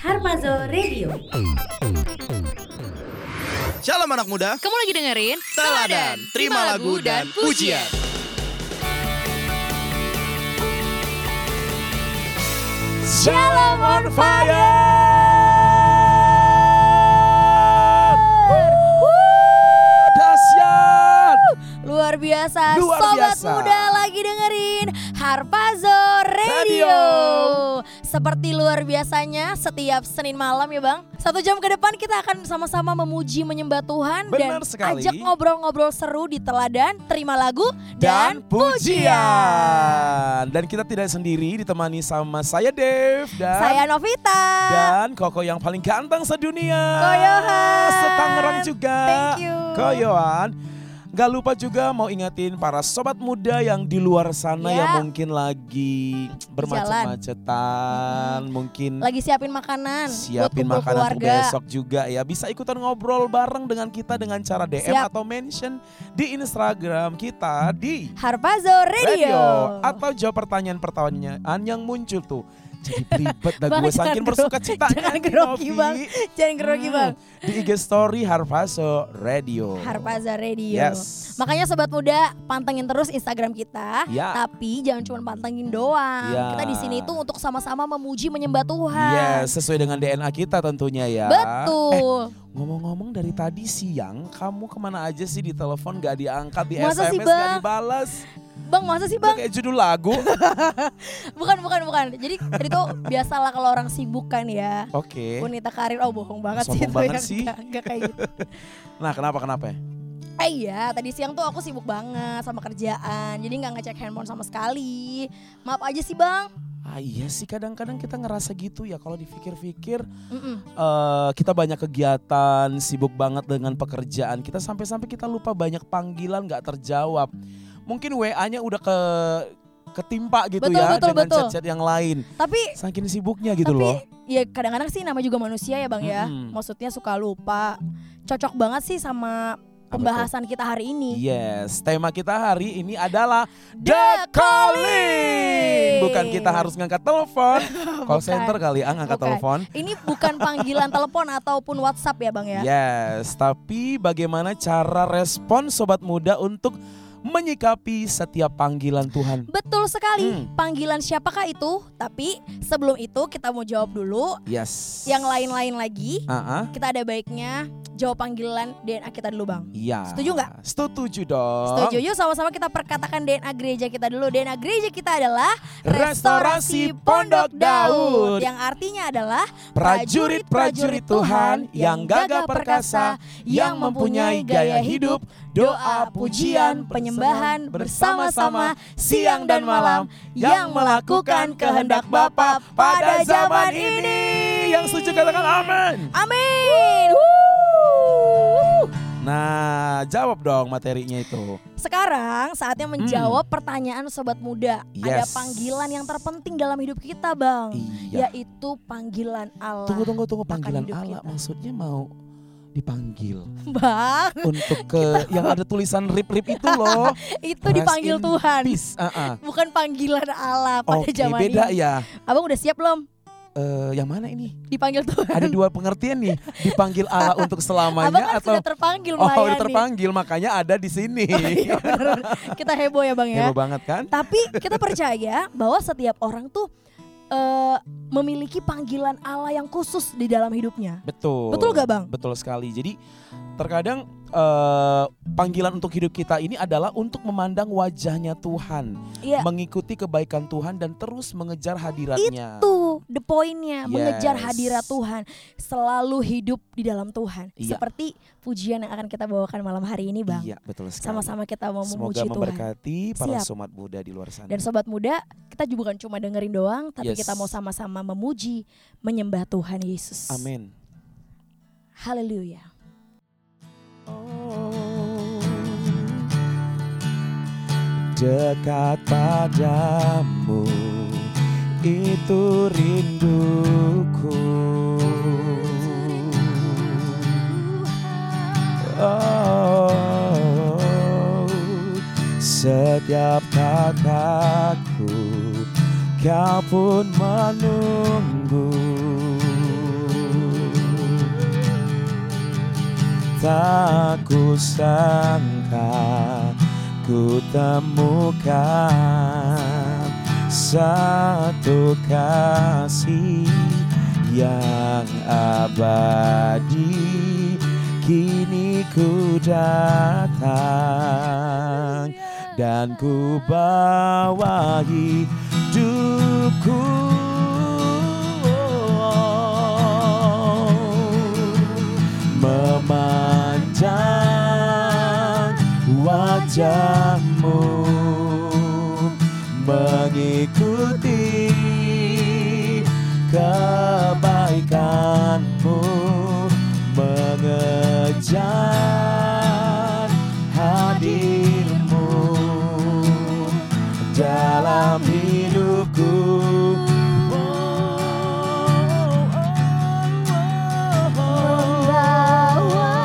Harpazo Radio. Shalom anak muda, Kamu lagi dengerin teladan, terima lagu dan pujian. Shalom on fire. Wuh, Dahsyat. Luar biasa, Luar sobat biasa. muda lagi dengerin Harpazo Radio. Radio. Seperti luar biasanya setiap Senin malam ya Bang. Satu jam ke depan kita akan sama-sama memuji menyembah Tuhan Benar dan sekali. ajak ngobrol-ngobrol seru di teladan, terima lagu dan, pujian. Dan kita tidak sendiri ditemani sama saya Dave dan Saya Novita. dan Koko yang paling ganteng sedunia. Koyohan. Setangerang juga. Thank you. Koyohan. Gak lupa juga mau ingetin para sobat muda yang di luar sana Ya. yang mungkin lagi bermacet-macetan, mungkin lagi siapin makanan buat siapin kumpul makanan untuk keluarga. besok juga ya. Bisa ikutan ngobrol bareng dengan kita dengan cara DM Siap. atau mention di Instagram kita di Harpazo Radio. atau jawab pertanyaan-pertanyaan yang muncul tuh. Jadi belibet dah Bang, gue jangan saking gro- bersuka cita. kan jangan grogi, Bang. Jangan Hmm. grogi, Bang. Di IG story Harpaso Radio. Harpaza Radio. Yes. Makanya sobat muda pantengin terus Instagram kita, Ya. tapi jangan cuma pantengin doang. Ya. Kita di sini itu untuk sama-sama memuji menyembah Tuhan. Yes, sesuai dengan DNA kita tentunya ya. Eh, Betul. ngomong-ngomong dari tadi siang, kamu kemana aja sih di telepon gak diangkat, di Masa sih, SMS gak Bang? dibalas. bang, masa sih Udah Bang? kayak judul lagu. Bukan, bukan, bukan. Jadi itu biasalah kalau orang sibuk kan ya. Oke. Wanita karir oh bohong banget sih Eh. Sombong itu banget ya. sih. Nggak- nggak kayak gitu. Nah kenapa kenapa? Eh iya, tadi siang tuh aku sibuk banget sama kerjaan. Jadi nggak ngecek handphone sama sekali. Maaf aja sih, Bang. Ah iya sih kadang-kadang kita ngerasa gitu ya kalau dipikir-pikir Mm-mm. eh kita banyak kegiatan, sibuk banget dengan pekerjaan. Kita sampai-sampai kita lupa banyak panggilan nggak terjawab. Mungkin WA-nya udah ke ketimpa gitu Betul, ya betul, dengan betul. chat-chat yang lain. Tapi Saking sibuknya gitu Tapi loh. ya kadang-kadang sih nama juga manusia ya bang ya. Mm-mm. Maksudnya suka lupa. Cocok banget sih sama pembahasan kita hari ini. Yes, tema kita hari ini adalah The Iya. Calling. The Calling. Bukan kita harus ngangkat telepon. Call Bukan. center kali ah ngangkat Bukan. telepon. Ini bukan panggilan telepon ataupun WhatsApp ya bang ya. Iya. Yes, tapi bagaimana cara respon sobat muda untuk menyikapi setiap panggilan Tuhan? Betul sekali. Hmm. Panggilan siapakah itu? Tapi sebelum itu kita mau jawab dulu. Yes. Yang lain-lain lagi Ah, ah, kita ada baiknya jawab panggilan DNA kita dulu bang. Iya. Setuju nggak? Setuju dong. Setuju yuk sama-sama kita perkatakan DNA gereja kita dulu. DNA gereja kita adalah Restorasi Pondok Daud. Yang artinya adalah Prajurit-prajurit Tuhan yang gagah perkasa, yang mempunyai gaya hidup, doa, pujian, penyembahan bersama-sama siang dan malam, yang melakukan kehendak Bapa pada zaman ini. Yang setuju katakan amin. Amin. Wuh. Nah, jawab dong materinya itu. Sekarang saatnya menjawab pertanyaan sobat muda. Ada Hmm. Yes. panggilan yang terpenting dalam hidup kita, Bang. Iya. Yaitu panggilan Allah. Tunggu tunggu tunggu akan panggilan hidup Allah kita. maksudnya mau dipanggil Bang, untuk ke yang ada tulisan rip-rip itu loh. itu Rest dipanggil in Tuhan. Peace. Ah, ah. Bukan panggilan Allah pada Oke, zaman beda ini. ya. Abang udah siap belum Eh, yang mana ini? dipanggil Tuhan? Ada dua pengertian nih, dipanggil Allah Abang untuk kan selamanya atau sudah terpanggil Oh, melayani. udah terpanggil makanya ada di sini. Iya, bener. Kita heboh ya Bang ya. Heboh banget kan? Tapi kita percaya bahwa setiap orang tuh eh, memiliki panggilan Allah yang khusus di dalam hidupnya. Betul. Betul gak Bang? Betul sekali. Jadi terkadang eh, panggilan untuk hidup kita ini adalah untuk memandang wajahnya Tuhan, Iya. mengikuti kebaikan Tuhan dan terus mengejar hadiratnya. Itu the pointnya mengejar Yes. hadirat Tuhan, selalu hidup di dalam Tuhan. Iya. Seperti pujian yang akan kita bawakan malam hari ini, Bang. Iya, betul sekali. Sama-sama kita mau Semoga memuji Tuhan. memberkati para Siap. somat muda di luar sana. Dan sobat muda, kita juga bukan cuma dengerin doang, tapi Yes. kita mau sama-sama memuji, menyembah Tuhan Yesus. Amin. Haleluya. Dekat padamu itu rinduku. Oh, setiap kataku Kau pun menunggu Tak kusangka ku temukan Satu kasih yang abadi Kini ku datang dan ku bawa hidupku memandang wajahmu mengikuti kebaikanmu mengejar hadirmu dalam hidupku. Membawa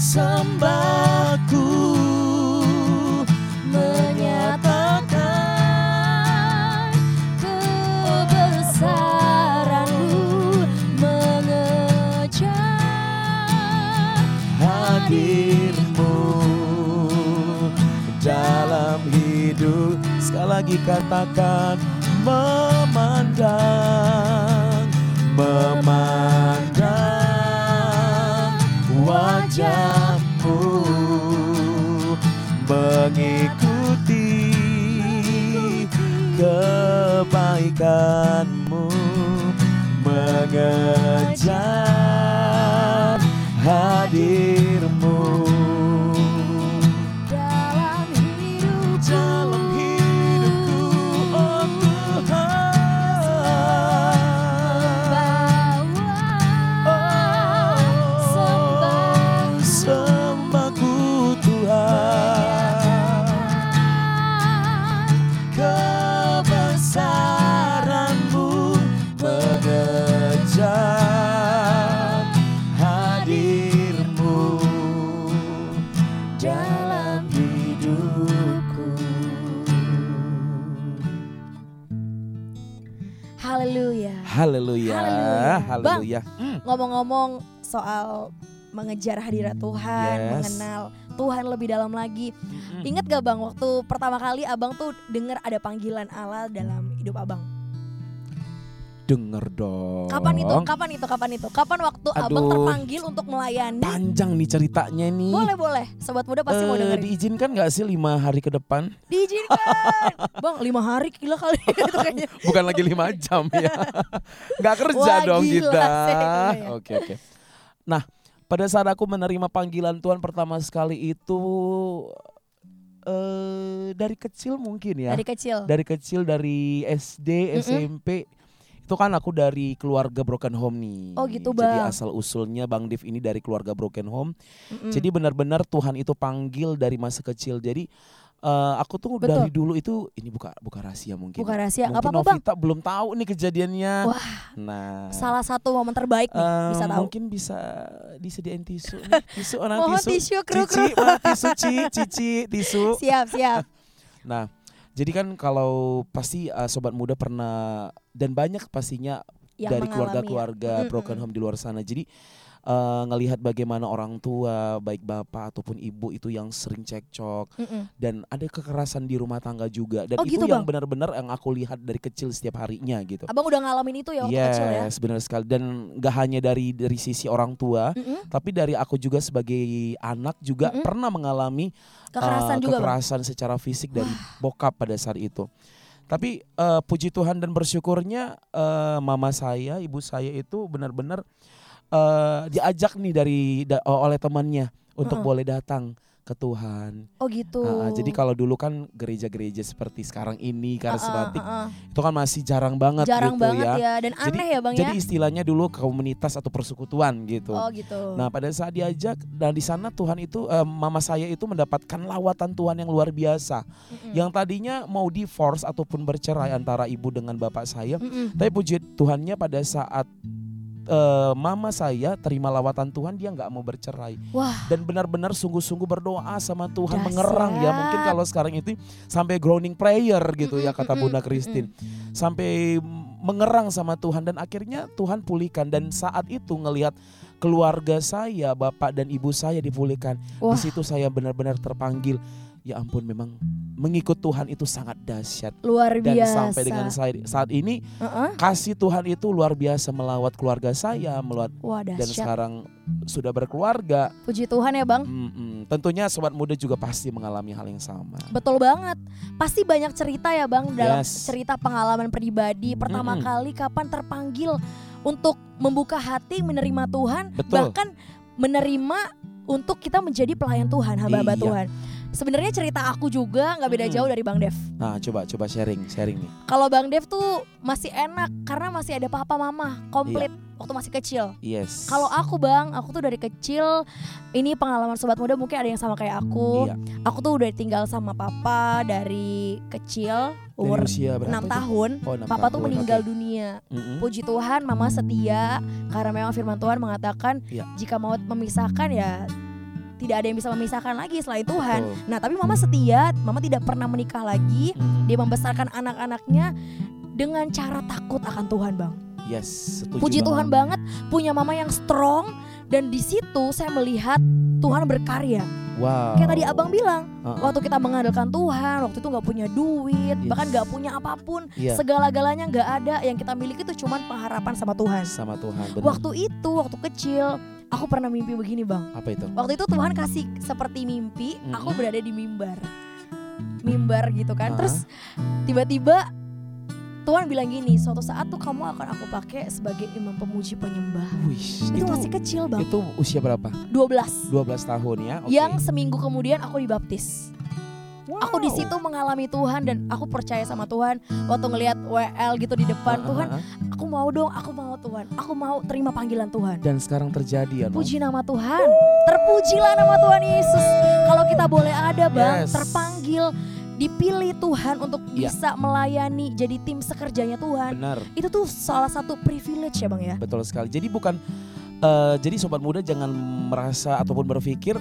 sembahku menyatakan kebesaranmu mengejar hadirmu dalam hidup sekali lagi katakan memandang memandang wajahmu mengikuti kebaikanmu mengejar hadirmu dalam dalam hidupku oh Tuhan oh sembahku Tuhan kebesaranmu mengejar hadirmu dalam hidupku Haleluya. Haleluya Haleluya. haleluya Mm, Ngomong-ngomong soal mengejar hadirat Tuhan, Hmm, Yes. mengenal Tuhan lebih dalam lagi. mm, mm. Ingat gak bang waktu pertama kali abang tuh dengar ada panggilan Allah dalam hidup abang? denger dong Kapan itu? Kapan itu? Kapan itu? Kapan waktu abang Oh. Aduh. terpanggil untuk melayani? panjang nih ceritanya nih Boleh boleh, sobat muda pasti mau Eh, dengerin. diizinkan nggak sih lima hari ke depan Diizinkan, bang lima hari gila kali itu kayaknya. bukan lagi lima jam ya nggak kerja Wah, dong gila kita sih itu ya. oke oke nah pada saat aku menerima panggilan Tuhan pertama sekali itu eh dari kecil mungkin ya Dari kecil. dari kecil dari SD Mm-mm. SMP itu kan aku dari keluarga broken home nih Oh, gitu, jadi Bang. Mm. asal usulnya Bang Div ini dari keluarga broken home Mm-mm. Jadi benar-benar Tuhan itu panggil dari masa kecil. Jadi eh, aku tuh Betul. dari dulu itu ini buka buka rahasia mungkin. bukan rahasia, nggak mungkin apa-apa bang. Novita belum tahu nih kejadiannya. Wah, Nah. Salah satu momen terbaik nih eh, bisa tahu. Mungkin bisa disediain tisu nih. Tisu orang Mohon tisu. tisu kru Cici, kru. mana tisu, Ci? Cici, tisu. Siap siap. Nah, jadi kan kalau pasti eh, sobat muda pernah dan banyak pastinya Yang dari mengalami ya. keluarga-keluarga Mm-mm. broken home di luar sana. Jadi eh, ngelihat bagaimana orang tua, baik bapak ataupun ibu itu yang sering cekcok Mm-mm. dan ada kekerasan di rumah tangga juga dan Oh, itu gitu, yang Bang? benar-benar yang aku lihat dari kecil setiap harinya gitu. Abang udah ngalamin itu ya waktu kecil ya. Yes, Eh, benar sekali dan gak hanya dari dari sisi orang tua, Mm-mm. tapi dari aku juga sebagai anak juga Mm-mm. pernah mengalami Kekerasan eh, juga bang. kekerasan secara fisik dari bokap pada saat itu. Tapi eh, puji Tuhan dan bersyukurnya eh, mama saya, ibu saya itu benar-benar eh, diajak nih dari da- oleh temannya untuk Heeh. boleh datang ke Tuhan. Oh gitu. Ah, ah, jadi kalau dulu kan gereja-gereja seperti sekarang ini karismatik Ah, ah, ah. itu kan masih jarang banget jarang gitu banget ya. ya. dan Jadi- aneh ya bang Jadi ya. istilahnya dulu komunitas atau persekutuan gitu. Oh gitu. Nah pada saat diajak dan di sana Tuhan itu eh, mama saya itu mendapatkan lawatan Tuhan yang luar biasa. Mm-mm. Yang tadinya mau divorce ataupun bercerai antara ibu dengan bapak saya, Mm-mm. tapi puji Tuhannya pada saat eh, mama saya terima lawatan Tuhan dia nggak mau bercerai Wah, dan benar-benar sungguh-sungguh berdoa sama Tuhan Dahsyat. mengerang ya mungkin kalau sekarang itu sampai grounding prayer gitu ya Mm-mm, kata mm-mm, Bunda Christine sampai mengerang sama Tuhan dan akhirnya Tuhan pulihkan dan saat itu ngelihat keluarga saya bapak dan ibu saya dipulihkan Wah. di situ saya benar-benar terpanggil ya ampun memang mengikut Tuhan itu sangat dahsyat luar dan biasa. sampai dengan saya saat ini Heeh. kasih Tuhan itu luar biasa melawat keluarga saya melawat Wah, dan dahsyat. sekarang sudah berkeluarga Puji Tuhan ya, Bang. Mm-mm. Tentunya sobat muda juga pasti mengalami hal yang sama. Betul banget. Pasti banyak cerita ya Bang dalam Yes. cerita pengalaman pribadi. Pertama Mm-mm. kali kapan terpanggil untuk membuka hati menerima Tuhan, Betul. bahkan menerima untuk kita menjadi pelayan Tuhan, hamba-hamba Iya. Tuhan. Sebenarnya cerita aku juga nggak beda Mm-mm. jauh dari Bang Dev. Nah, coba coba sharing, sharing nih. Kalau Bang Dev tuh masih enak karena masih ada papa mama komplit Iya. waktu masih kecil. Yes. Kalau aku Bang, aku tuh dari kecil ini pengalaman sobat muda mungkin ada yang sama kayak aku. iya. Aku tuh udah tinggal sama papa dari kecil Dari umur usia 6 berapa? itu? tahun. Oh, enam Papa tuh tahun, meninggal oke. dunia. Mm-mm. Puji Tuhan, Mama setia karena memang firman Tuhan mengatakan Iya. jika mau memisahkan ya tidak ada yang bisa memisahkan lagi selain Tuhan. Betul. Nah, tapi Mama setia, Mama tidak pernah menikah lagi. Mm-mm. Dia membesarkan anak-anaknya dengan cara takut akan Tuhan, Bang. Yes, setuju Puji Tuhan banget. banget punya Mama yang strong dan di situ saya melihat Tuhan berkarya. Wow. Kayak tadi Abang bilang, Uh-uh. waktu kita mengandalkan Tuhan, waktu itu nggak punya duit, Yes. bahkan nggak punya apapun, Iya. segala-galanya nggak ada. Yang kita miliki itu cuman pengharapan sama Tuhan. Sama Tuhan. Benar. Waktu itu, waktu kecil, aku pernah mimpi begini bang. Apa itu? Waktu itu Tuhan kasih seperti mimpi, aku Mhm. berada di mimbar, mimbar gitu kan. Ah. Terus tiba-tiba Tuhan bilang gini, suatu saat tuh kamu akan aku pakai sebagai imam pemuji penyembah. Wih, Itu, masih kecil bang, itu usia berapa? 12. 12 tahun ya. Oke. Yang seminggu kemudian aku dibaptis. Aku di Wow. situ mengalami Tuhan dan aku percaya sama Tuhan. Waktu ngelihat WL gitu di depan Uh-uh, Tuhan, uh-uh. aku mau dong, aku mau Tuhan, aku mau terima panggilan Tuhan. Dan sekarang terjadi ya, Nom? Puji nama Tuhan, terpujilah nama Tuhan Yesus. Kalau kita boleh ada bang, Yes. terpanggil, dipilih Tuhan untuk Iya. bisa melayani, jadi tim sekerjanya Tuhan. Benar. Itu tuh salah satu privilege ya bang ya. Betul sekali. Jadi bukan eh, jadi sobat muda jangan merasa ataupun berpikir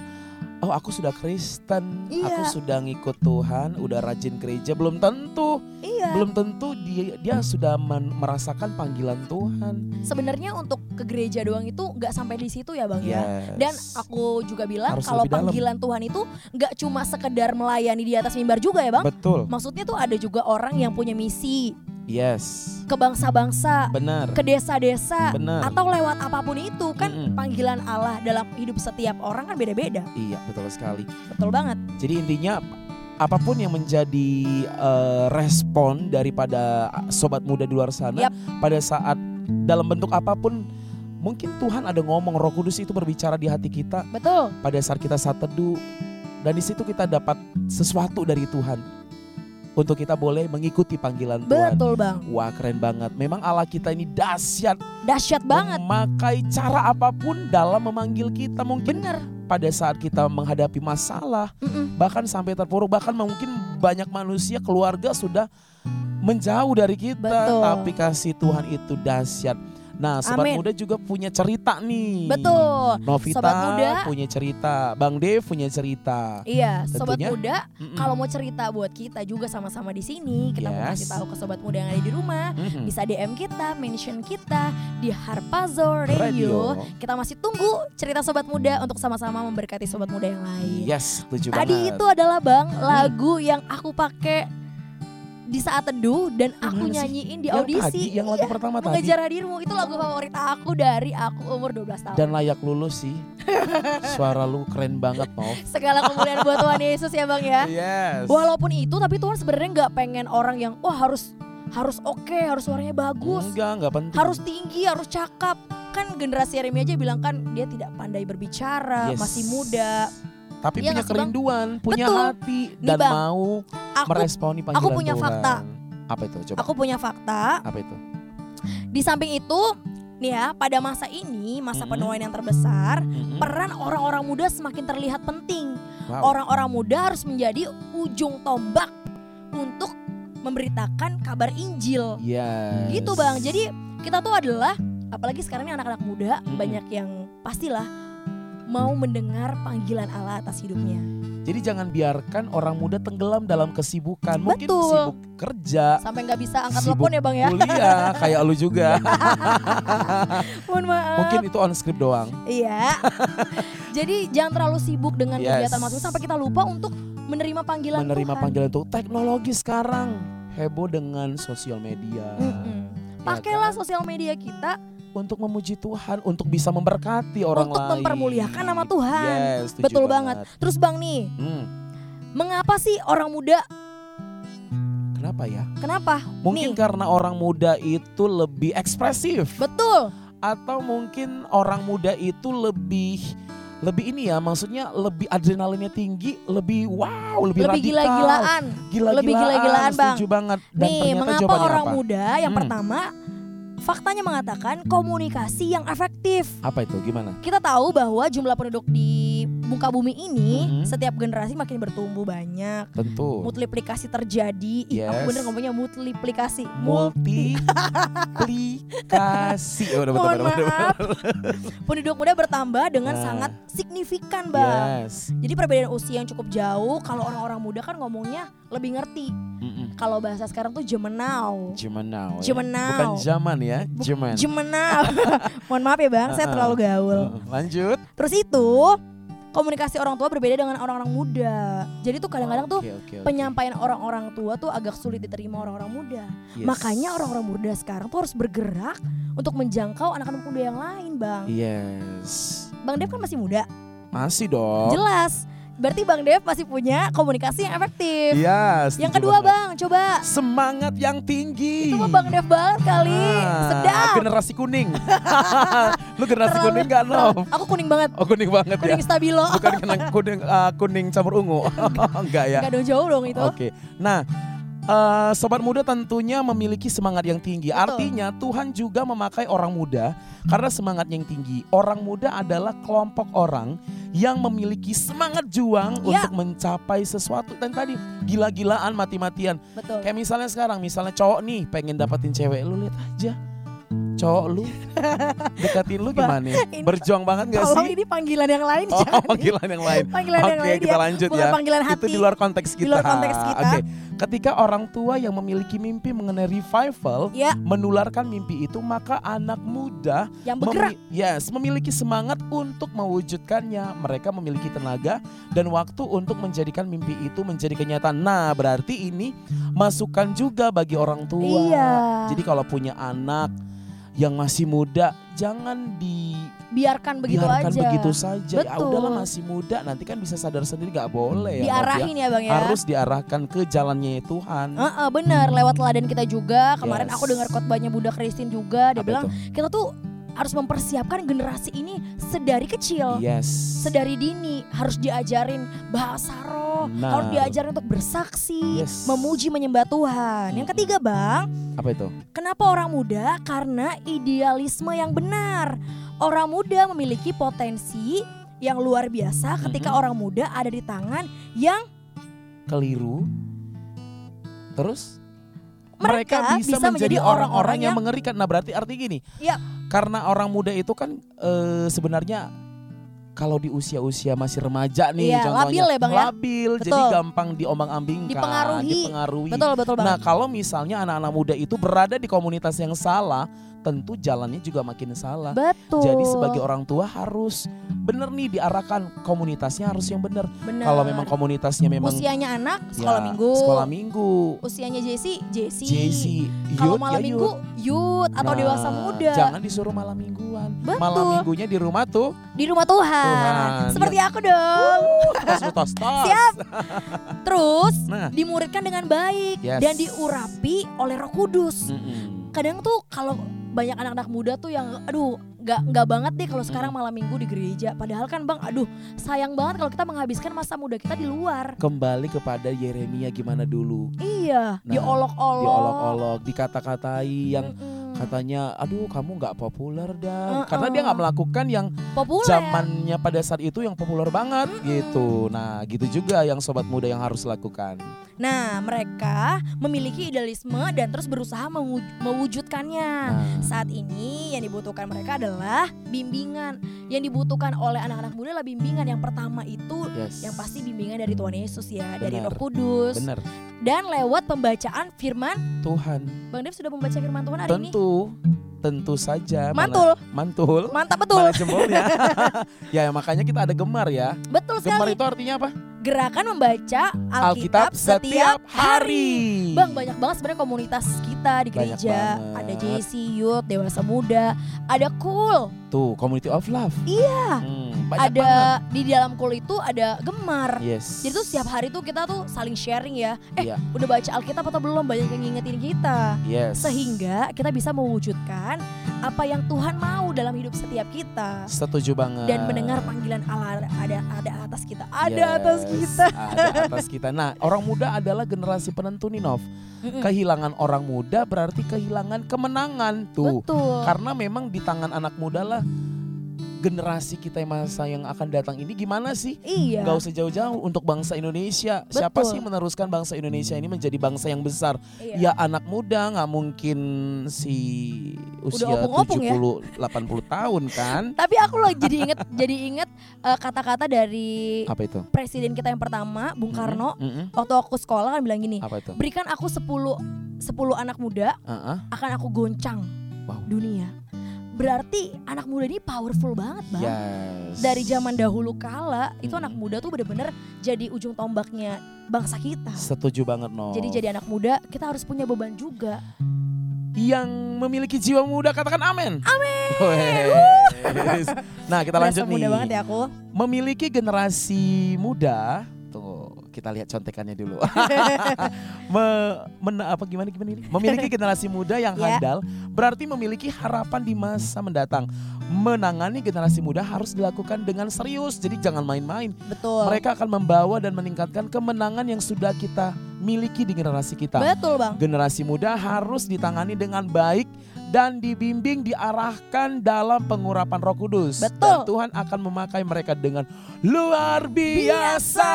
oh aku sudah Kristen, aku Iya. sudah ngikut Tuhan, udah rajin gereja belum tentu, Iya. belum tentu dia dia sudah men- merasakan panggilan Tuhan. Sebenarnya untuk ke gereja doang itu nggak sampai di situ ya bang ya. Yes. Dan aku juga bilang Iya. Harus kalau lebih dalam. panggilan Tuhan itu nggak cuma sekedar melayani di atas mimbar juga ya bang. betul. Maksudnya tuh ada juga orang yang punya misi Yes. ke bangsa-bangsa, Benar. ke desa-desa, Benar. atau lewat apapun itu kan Mm-mm. panggilan Allah dalam hidup setiap orang kan beda-beda. Iya, betul sekali. Betul banget. Jadi intinya apapun yang menjadi eh, respon daripada sobat muda di luar sana Yap. pada saat dalam bentuk apapun mungkin Tuhan ada ngomong Roh Kudus itu berbicara di hati kita Betul. pada saat kita saat teduh dan di situ kita dapat sesuatu dari Tuhan untuk kita boleh mengikuti panggilan Tuhan. Betul, Bang. Wah keren banget. Memang Allah kita ini dahsyat Dahsyat banget. memakai cara apapun dalam memanggil kita. Mungkin Bener. pada saat kita menghadapi masalah Mm-mm. bahkan sampai terpuruk bahkan mungkin banyak manusia keluarga sudah menjauh dari kita Betul. tapi kasih Tuhan itu dahsyat nah sobat Amin. muda juga punya cerita nih Betul. Novita Sobat muda. punya cerita Bang Dev punya cerita Iya, sobat Tentunya. mm. muda, Mm-mm. kalau mau cerita buat kita juga sama-sama di sini, kita mau Yes. Mm. kasih tahu ke sobat muda yang ada di rumah, Mm-mm. bisa DM kita, mention kita di Harpazo Radio. Kita masih tunggu cerita sobat muda untuk sama-sama memberkati sobat muda yang lain. yes setuju Iya. Tadi banget itu adalah Bang Hmm. lagu yang aku pakai di saat teduh dan aku Gimana sih? nyanyiin di yang audisi. tadi yang lagu Iya, pertama tadi Mengejar hadirmu itu lagu favorit aku dari aku umur 12 tahun. dan layak lulus sih suara lu keren banget Nov Segala kemuliaan buat Tuhan Yesus ya Bang ya. yes Walaupun itu tapi Tuhan sebenarnya nggak pengen orang yang wah harus harus oke, harus suaranya bagus, enggak enggak penting harus tinggi, harus cakap. Kan generasi Remy aja bilang kan dia tidak pandai berbicara, Eh, Yes. masih muda. Tapi Iya punya nggak sih, Bang? kerinduan, punya Betul. hati Nih, dan Bang, mau Aku meresponi panggilan punya Tuhan. fakta. Apa itu? Coba. aku punya fakta Apa itu? Di samping itu, nih ya, pada masa ini, masa Mm-mm. penuaian yang terbesar, Mm-mm. peran orang-orang muda semakin terlihat penting. Wow. Orang-orang muda harus menjadi ujung tombak untuk memberitakan kabar Injil. Yes. Gitu Bang. Jadi, kita tuh adalah apalagi sekarang ini anak-anak muda Mm-mm. banyak yang pastilah mau mendengar panggilan Allah atas hidupnya. Jadi jangan biarkan orang muda tenggelam dalam kesibukan. Mungkin Betul. sibuk kerja, Sampai nggak bisa angkat Iya. Sibuk telepon ya Bang ya. Iya, kuliah, kayak lu juga. Mohon maaf. Mungkin itu on script doang. Iya. Jadi jangan terlalu sibuk dengan Yes. kegiatan masing sampai kita lupa untuk menerima panggilan Menerima Tuhan. panggilan untuk teknologi sekarang heboh dengan sosial media. Mm-mm. Ya Pakailah kan? sosial media kita untuk memuji Tuhan, untuk bisa memberkati orang untuk lain. mempermuliakan nama Tuhan. Yes, setuju Betul banget. Terus Bang nih, Hmm, mengapa sih orang muda? kenapa ya? Kenapa? Mungkin Nih. karena orang muda itu lebih ekspresif. Betul. atau mungkin orang muda itu lebih lebih ini ya maksudnya lebih adrenalinnya tinggi lebih wow lebih, Lebih radikal gila-gilaan. gila-gilaan, Lebih gila-gilaan, Bang. setuju banget dan Nih, ternyata mengapa jawabannya orang apa muda yang Hmm. pertama faktanya mengatakan komunikasi yang efektif. apa itu gimana Kita tahu bahwa jumlah penduduk di muka bumi ini Mhm. setiap generasi makin bertumbuh banyak. tentu Multiplikasi terjadi. Ih, aku Yes. bener ngomongnya multiplikasi. multiplikasi oh, udah, Mohon betul, betul, betul. maaf. Penduduk muda bertambah dengan Nah. sangat signifikan, Bang. yes Jadi perbedaan usia yang cukup jauh, kalau orang-orang muda kan ngomongnya lebih ngerti. Mm-mm. Kalau bahasa sekarang tuh jemenau. Zaman now ya. Zaman now. bukan zaman ya zaman Jemenau. Mohon maaf ya, Bang, saya Uh-uh. terlalu gaul. lanjut Terus itu komunikasi orang tua berbeda dengan orang-orang muda. Jadi tuh kadang-kadang tuh Oke, oke, oke. penyampaian orang-orang tua tuh agak sulit diterima orang-orang muda. Yes. Makanya orang-orang muda sekarang tuh harus bergerak untuk menjangkau anak-anak muda yang lain, Bang. Iya. yes Bang Dev kan masih muda. masih dong Jelas. Berarti Bang Dev masih punya komunikasi yang Iya. efektif. Yes, yang setuju kedua, banget. Bang, coba. semangat yang tinggi. Itu mah Bang Dev banget kali. Ah, Sedap. Generasi kuning. Lu generasi Terlalu- kuning gak Nov? Aku kuning banget. Oh kuning banget ya. Kuning stabilo. Bukan kena kuning ah, kuning campur ungu. Enggak ya. Gak dong jauh dong itu. Oke. Nah, eh, sobat muda tentunya memiliki semangat yang tinggi. Betul. Artinya Tuhan juga memakai orang muda karena semangatnya yang tinggi. Orang muda adalah kelompok orang yang memiliki semangat juang Ya. untuk mencapai sesuatu. Dan tadi gila-gilaan mati-matian. Betul. Kayak misalnya sekarang, misalnya cowok nih pengen dapetin cewek, lu lihat aja cowok lu deketin lu Ba- gimana? ini- Berjuang banget gak Tolong sih? ini panggilan yang lain Oh, jangan. ya. panggilan yang lain. panggilan yang Oke, lain kita ya. lanjut Bukan ya. panggilan hati. Itu di luar konteks kita. Di luar konteks kita. Oke, ketika orang tua yang memiliki mimpi mengenai revival Ya, menularkan mimpi itu, maka anak muda yang memi- bergerak. yes, memiliki semangat untuk mewujudkannya. Mereka memiliki tenaga dan waktu untuk menjadikan mimpi itu menjadi kenyataan. Nah, berarti ini masukan juga bagi orang tua. Iya. Jadi kalau punya anak yang masih muda, jangan biarkan dibiarkan begitu aja. begitu saja. Ya Betul. udahlah masih muda, nanti kan bisa sadar sendiri nggak boleh ya. Nob, ya. Diarahin ya, Bang ya. Oh, Harus diarahkan ke jalannya Tuhan. Heeh, bener lewat teladan kita juga. Kemarin Yes. aku dengar khotbahnya Bunda Christine juga dia Apa bilang itu? kita tuh harus mempersiapkan generasi ini sedari kecil, yes. sedari dini harus diajarin bahasa roh, Benar. harus diajarin untuk bersaksi, Yes. memuji menyembah Tuhan. Yang ketiga, Bang, Apa itu? Kenapa orang muda? Karena idealisme yang benar. Orang muda memiliki potensi yang luar biasa ketika Mhm. orang muda ada di tangan yang Keliru. Terus mereka, bisa, menjadi orang-orang yang, yang Ya. mengerikan. Nah berarti arti gini, Yap. karena orang muda itu kan eh, sebenarnya kalau di usia-usia masih remaja nih, Iya, contohnya labil ya, Bang, ya? labil, Betul. jadi gampang diombang-ambingkan, Dipengaruhi. dipengaruhi. betul betul Nah banget. kalau misalnya anak-anak muda itu berada di komunitas yang salah, tentu jalannya juga makin salah. betul. Jadi sebagai orang tua harus bener nih diarahkan komunitasnya harus yang bener. Benar. Kalau memang komunitasnya memang usianya anak Nah. sekolah ya, minggu, sekolah minggu, usianya JC JC. JC, Kalau youth malam ya minggu youth. youth atau Nah, dewasa muda Jangan disuruh malam mingguan. Betul. Malam minggunya di rumah tuh di rumah Tuhan. Tuhan. ya. Seperti aku dong. tos tos tos. Siap. Terus Nah. dimuridkan dengan baik Yes. Hmm. dan diurapi oleh Roh Kudus. Mm-mm. kadang tuh kalau banyak anak-anak muda tuh yang aduh nggak nggak banget deh Hmm. kalau sekarang malam minggu di gereja padahal kan bang aduh sayang banget kalau kita menghabiskan masa muda kita di luar Kembali kepada Yeremia gimana dulu. iya Nah, diolok-olok Diolok-olok, dikata-katai yang Mm-mm. katanya aduh kamu nggak populer Uh-uh. dan karena dia nggak melakukan yang populer zamannya pada saat itu yang populer banget gitu nah gitu juga yang sobat muda yang harus lakukan Nah, mereka memiliki idealisme dan terus berusaha mewu- mewujudkannya. Nah, Saat ini yang dibutuhkan mereka adalah bimbingan. Yang dibutuhkan oleh anak-anak muda adalah bimbingan. Yang pertama itu yes. yang pasti bimbingan dari Tuhan Yesus ya, dari Benar. Roh Kudus benar dan lewat pembacaan firman. Tuhan. Bang Dev sudah membaca firman Tuhan hari ini. Tentu tentu saja mana- Mantul, mantul. mantap betul. Mana jempolnya? ya makanya kita ada gemar ya. Betul Gemar sekali. itu artinya apa? Gerakan membaca Alkitab setiap hari. Bang banyak banget sebenarnya komunitas kita di Banyak gereja. banget. Ada JC Youth, Dewasa Muda, ada Cool, Tuh community of love. Iya. banyak ada banget. di dalam Cool itu ada Gemar. Yes. Jadi tuh setiap hari tuh kita tuh saling sharing ya. Eh, Iya. udah baca Alkitab atau belum? Banyak yang ngingetin kita. Yes. Sehingga kita bisa mewujudkan apa yang Tuhan mau dalam hidup setiap kita setuju banget. dan mendengar panggilan Allah ada ada atas kita. Ada atas Yes, kita. Ada atas kita. Nah, orang muda adalah generasi penentu nih, Nov. Mm-mm. Kehilangan orang muda berarti kehilangan kemenangan tuh. Betul. Karena memang di tangan anak muda lah generasi kita yang masa yang akan datang ini gimana sih? Iya. Gak usah jauh-jauh untuk bangsa Indonesia. Siapa Betul. sih meneruskan bangsa Indonesia ini menjadi bangsa yang besar? Iya. Ya anak muda nggak mungkin si usia opung-opung ya. 70 80 tahun kan? Tapi aku loh jadi inget jadi inget eh, kata-kata dari Apa itu? presiden kita yang pertama Mm-hmm. Bung Karno Mm-mm, mm-mm. waktu aku sekolah kan bilang gini, Apa itu? "Berikan aku 10 10 anak muda Ah, ah. akan aku goncang Wow. dunia." Berarti anak muda ini powerful banget, Bang. Yes. Mm-hmm. Dari zaman dahulu kala itu Mm-mm. anak muda tuh bener-bener jadi ujung tombaknya bangsa kita. Setuju banget no. Jadi jadi anak muda kita harus punya beban juga. yang memiliki jiwa muda katakan amin. Amin. nah kita Berasa lanjut muda nih. banget ya aku. Memiliki generasi muda. Tunggu kita lihat contekannya dulu. Me- men- apa gimana gimana ini? Memiliki generasi muda yang Ya. handal berarti memiliki harapan di masa mendatang. Menangani generasi muda harus dilakukan dengan serius. Jadi jangan main-main. Betul. Mereka akan membawa dan meningkatkan kemenangan yang sudah kita miliki di generasi kita. Betul, Bang. Generasi muda harus ditangani dengan baik dan dibimbing diarahkan dalam pengurapan Roh Kudus. Betul. Dan Tuhan akan memakai mereka dengan luar biasa.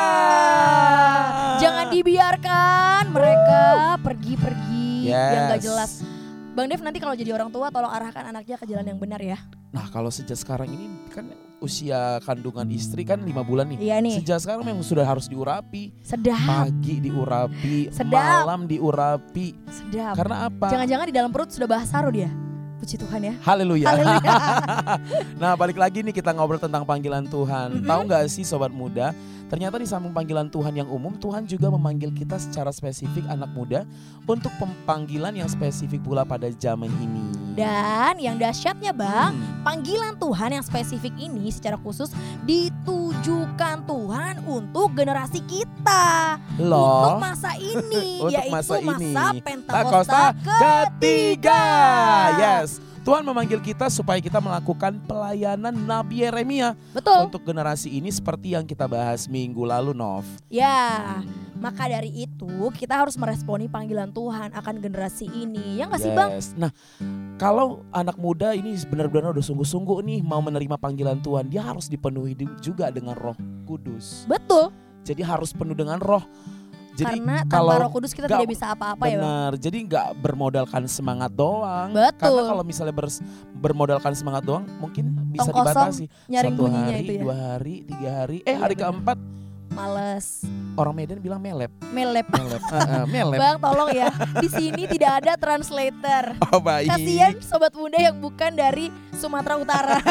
Jangan dibiarkan mereka pergi-pergi yang gak Yes. jelas. Bang Dev nanti kalau jadi orang tua tolong arahkan anaknya ke jalan yang benar ya. Nah, kalau sejak sekarang ini kan usia kandungan istri kan lima bulan nih. Iya nih, Sejak sekarang memang sudah harus diurapi. sedap, Pagi diurapi, Sedap. malam diurapi. sedap. Karena apa? Jangan-jangan di dalam perut sudah bahas haru dia. Puji Tuhan ya. Haleluya. Haleluya. Nah, balik lagi nih kita ngobrol tentang panggilan Tuhan. Mhm. Tahu nggak sih sobat muda? Ternyata di samping panggilan Tuhan yang umum, Tuhan juga memanggil kita secara spesifik anak muda untuk panggilan yang spesifik pula pada zaman ini. Dan yang dahsyatnya Bang, Hmm, panggilan Tuhan yang spesifik ini secara khusus ditujukan Tuhan untuk generasi kita. Untuk loh. masa ini, Untuk yaitu masa masa, ini. Pentakosta Takosta ketiga. ketiga. Yes. Tuhan memanggil kita supaya kita melakukan pelayanan Nabi Yeremia Betul. untuk generasi ini seperti yang kita bahas minggu lalu, Nov. Ya, Hmm. maka dari itu kita harus meresponi panggilan Tuhan akan generasi ini. Ya nggak sih Bang? Yes. Nah, kalau anak muda ini benar-benar udah sungguh-sungguh nih mau menerima panggilan Tuhan, dia harus dipenuhi di- juga dengan Roh Kudus. Betul, Jadi harus penuh dengan Roh. Jadi karena kalau tanpa roh kudus kita nggak- tidak bisa apa-apa ya Bang. benar. Jadi nggak bermodalkan semangat doang. Karena Betul, kalau misalnya bers- bermodalkan semangat doang, mungkin bisa Tong kosong, dibatasi nyaring satu bunyinya hari, itu ya. dua hari, tiga hari. Eh Iya, hari benar. keempat Males, orang Medan bilang melep, melep. melep, Eh, eh, melep. Bang tolong ya, di sini tidak ada translator. Oh, baik. Kasihan sobat muda yang bukan dari Sumatera Utara.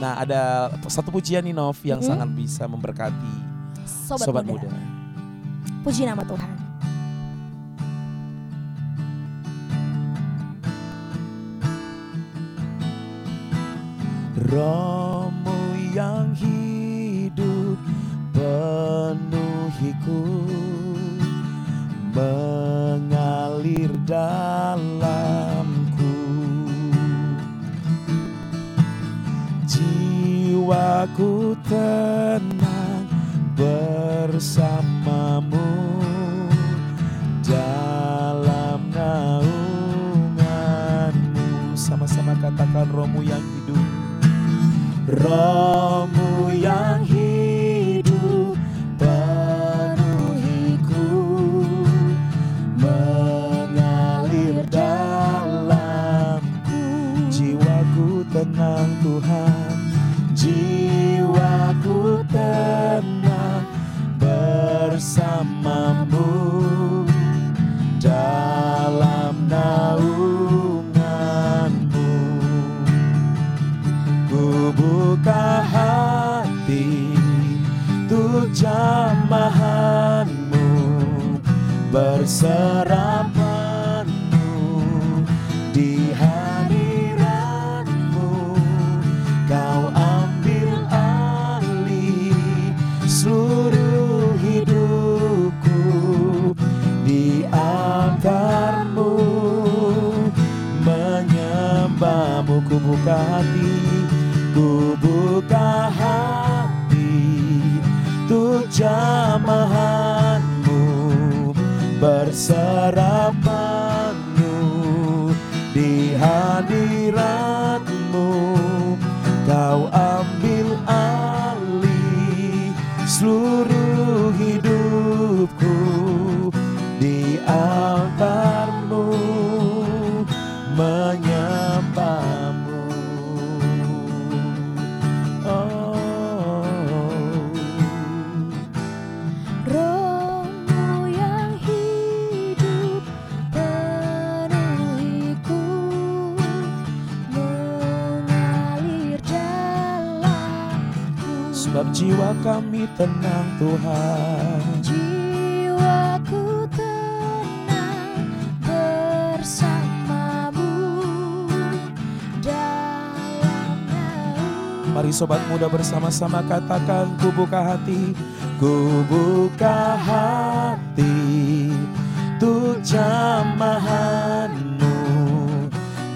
Nah ada satu pujian nih Nov yang Mhm. sangat bisa memberkati Sobat, sobat, muda. muda. Puji nama Tuhan. Rohmu yang hidup penuhiku mengalir dalamku jiwaku tenang bersamamu dalam naunganmu sama-sama katakan rohmu yang hidup Rohmu yang hidup penuhiku kamu ku buka hati Ku buka hati Untuk jamahanmu Berserah penuh Di hadiratmu Kau ambil alih Seluruh hidupku Di altarmu menyapamu. Oh. Rohmu yang hidup penuhiku mengalir dalamku Sebab jiwa kami tenang Tuhan jiwaku tenang bersamamu dalam naungan Mari sobat muda bersama-sama katakan ku buka hati Ku buka hati Untuk jamahanmu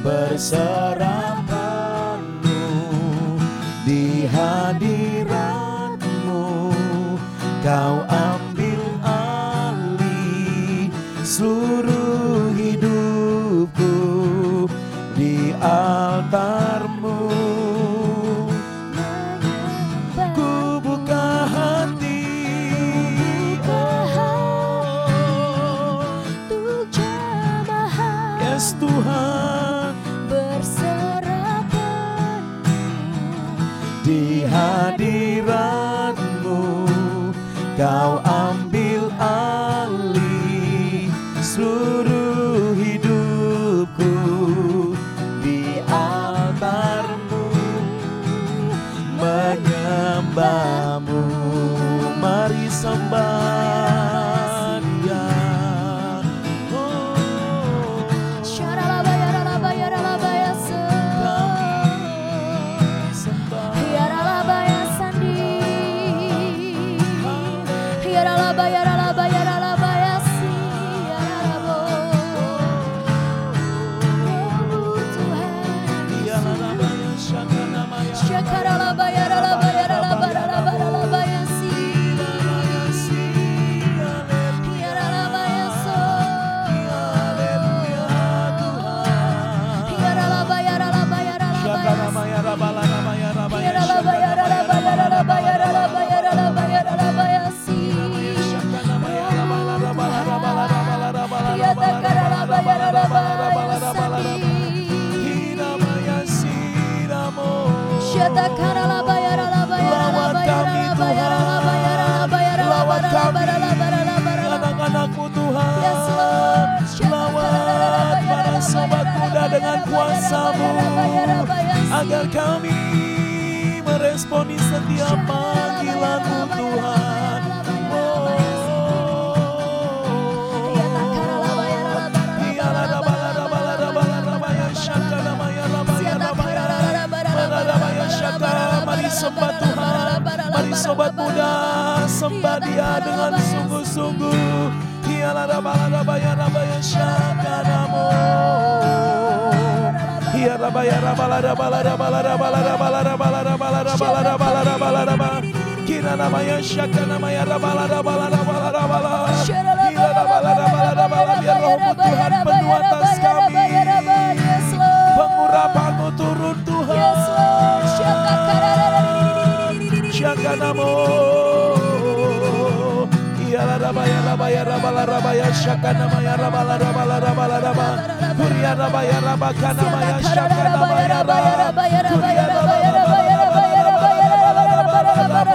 Berserah penuh Di hadiratmu Kau ambil alih Seluruh hidupku Di altarmu Ku buka hati oh. Untuk jamahan Yes Tuhan berserah penuh Di hadiratmu Kau ambil alih Seluruh hidupku Di altarmu Menyembahmu Mari sembah dia Oh. Syaralabaya, ralabaya, ralabaya, se- Ya ralabaya, sandi. Ya ralabaya, ralabaya, ralabaya, si. Ya ralabo. Rohmu Tuhan Syakaralabaya, ralabaya, ralabaya, ralabaya, ralabaya, si. Ya ralabaya, so. Ya ralabaya, ralabaya, ralabaya, si. Ya ralabaya, ralabaya, ralabaya, ralabaya, ralabaya, ralabaya, si. Ya takaralabaya, ralabaya, sandi. Syatakaralabaya, ralabaya, Lawat ralabaya, kami ralabaya, ralabaya, ralabaya, Tuhan, ralabaya, lawat kami, ralabaya, ralabaya, ralabaya, ralabaya. anak-anakmu Yes, Tuhan, Lord. lawat Syatakaralabaya, para ralabaya, sobat muda ralabaya, dengan ralabaya, kuasamu, ralabaya, ralabaya, ralabaya. agar kami meresponi setiap panggilanmu Tuhan. Oh. Syatakaralabaya, ralabaya, ralabaya, ralabaya, ralabaya, Rabaya, Syaka, Rabaya, Rabaya, Rabaya. Rabaya, Syaka. Mari sembah Tuhan, mari sobat muda sembah dia dengan sungguh-sungguh. Hiala Rabala Rabaya Rabaya Syaka Ramo. Hiya Rabaya Rabala Rabala Rabala Rabala Rabala Rabala Rabala Rabala Rabala Rabala Rabala Kira Rabaya Syaka Rabaya Rabala Rabala Rabala Rabala Hiya Rabala Rabala Rabala Biar rohmu Tuhan penuh atas kami Yes, Lord. Pengurapanmu turun Tuhan Yes, Lord. Syatakaralabaya. Syakanamo Iyala rabaya rabaya rabala rabaya Syakanamaya rabala rabala rabala raba Kuria rabaya rabakanamaya Syakanamaya raba Kuria rabaya rabaya rabaya rabaya rabala rabala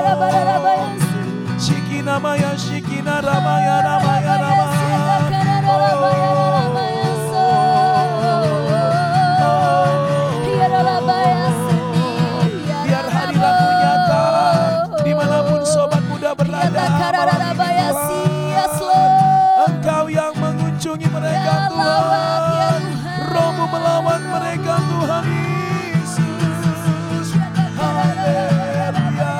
rabala Shikinamaya shikina ramaya ramaya ramaya biar hadiratmu nyata dimanapun sobat muda berada Tuhan. engkau yang mengunjungi mereka Ya lawat, ya Tuhan Tuhan. rohmu melawan mereka Tuhan Yesus haleluya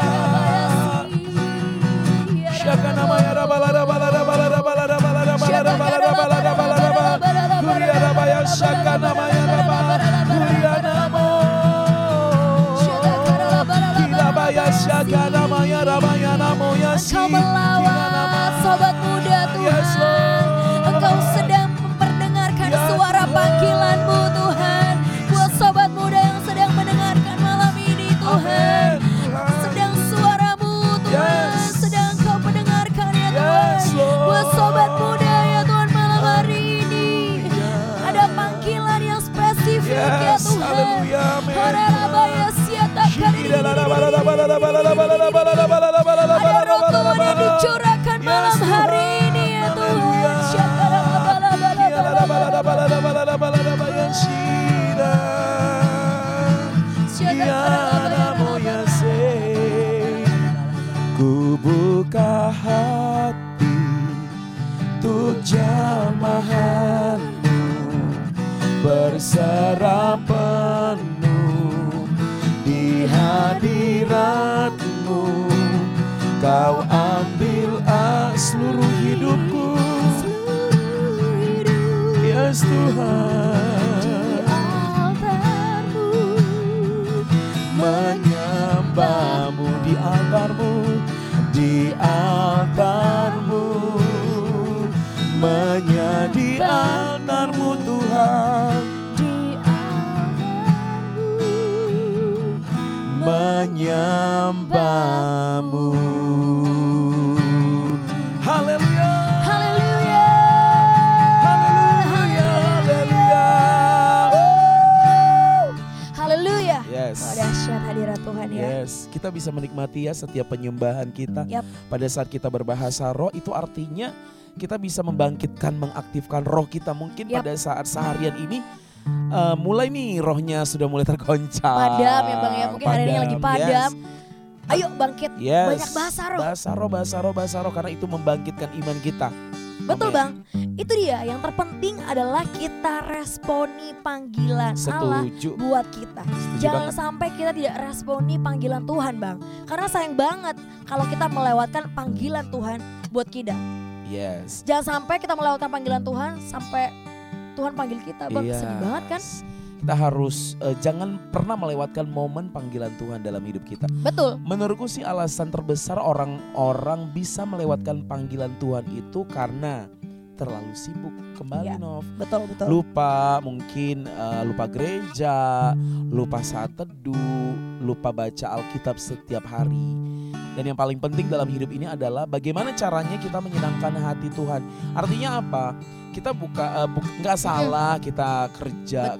Syaka namaya rabala rabala rabala rabala rabala rabala rabala rabala rabala rabala Kuria rabaya syaka namaya rabala Kuria namo Engkau melawat sobat muda Yes, Tuhan Lord. Engkau sedang memperdengarkan Yes, suara Lord. panggilanmu Tuhan Buat sobat muda yang sedang mendengarkan malam ini Tuhan Amin, Tuhan. Sedang suaramu Tuhan Yes. Sedang kau mendengarkan ya Tuhan Yes, Lord. Buat sobat muda ya Tuhan malam hari ini Yes. Ada panggilan yang spesifik ya Yes, Tuhan ya haleluya, amin. Horerabaya siatakan ada rokokan yang Yes, dicurahkan malam hari ini ya Tuhan. Ku buka hati Untuk jamahanmu Berserah penuh Di hadiratmu Kau ambil ah, seluruh hidupku Yes Tuhan menyembahmu di altarmu di altarmu menjadi altarmu Tuhan menyembahmu haleluya Haleluya. haleluya haleluya Haleluya. yes Oh, dahsyat hadirat Tuhan ya. Yes, kita bisa menikmati ya setiap penyembahan kita. Yap. Pada saat kita berbahasa roh itu artinya kita bisa membangkitkan, mengaktifkan roh kita. Mungkin Yap. pada saat seharian ini eh, mulai nih rohnya sudah mulai tergoncang. Padam ya Bang ya. Mungkin hari ini lagi padam. Padam, Ayo bangkit. Yes. yes. Banyak bahasa roh. Bahasa roh, bahasa roh, bahasa roh karena itu membangkitkan iman kita. Betul Amin. Bang. Itu dia yang terpenting adalah kita responi panggilan Allah Setuju. buat kita. Setuju Jangan banget. sampai kita tidak responi panggilan Tuhan, Bang. Karena sayang banget kalau kita melewatkan panggilan Tuhan buat kita. Yes. Jangan sampai kita melewatkan panggilan Tuhan sampai Tuhan panggil kita, Iya. Bang. Sedih banget kan? Yes. Kita harus eh, jangan pernah melewatkan momen panggilan Tuhan dalam hidup kita. Betul. Menurutku sih alasan terbesar orang-orang bisa melewatkan panggilan Tuhan itu karena terlalu sibuk kembali Iya. Nov. Betul, betul. Lupa mungkin eh, lupa gereja, lupa saat teduh, lupa baca Alkitab setiap hari. Dan yang paling penting dalam hidup ini adalah bagaimana caranya kita menyenangkan hati Tuhan. Artinya apa? Kita buka eh, bu- nggak salah kita kerja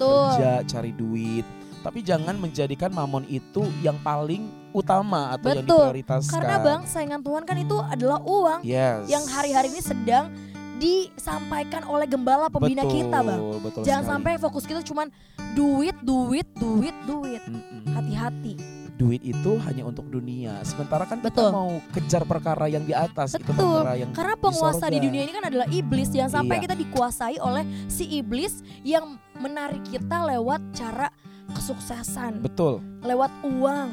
Hmm. Betul. kerja cari duit, tapi jangan menjadikan mamon itu yang paling utama atau yang Betul. diprioritaskan. Karena Bang, saingan Tuhan kan itu adalah uang yes. yang hari-hari ini sedang disampaikan oleh gembala pembina Betul, kita, Bang. betul Jangan sekali. sampai fokus kita cuman duit, duit, duit, duit. Mm-mm. Hati-hati. duit itu hanya untuk dunia. Sementara kan Betul. kita mau kejar perkara yang di atas, itu Betul. perkara yang Karena penguasa di sorga. dunia ini kan adalah iblis yang sampai Iya. kita dikuasai oleh si iblis yang menarik kita lewat cara kesuksesan, betul, lewat uang,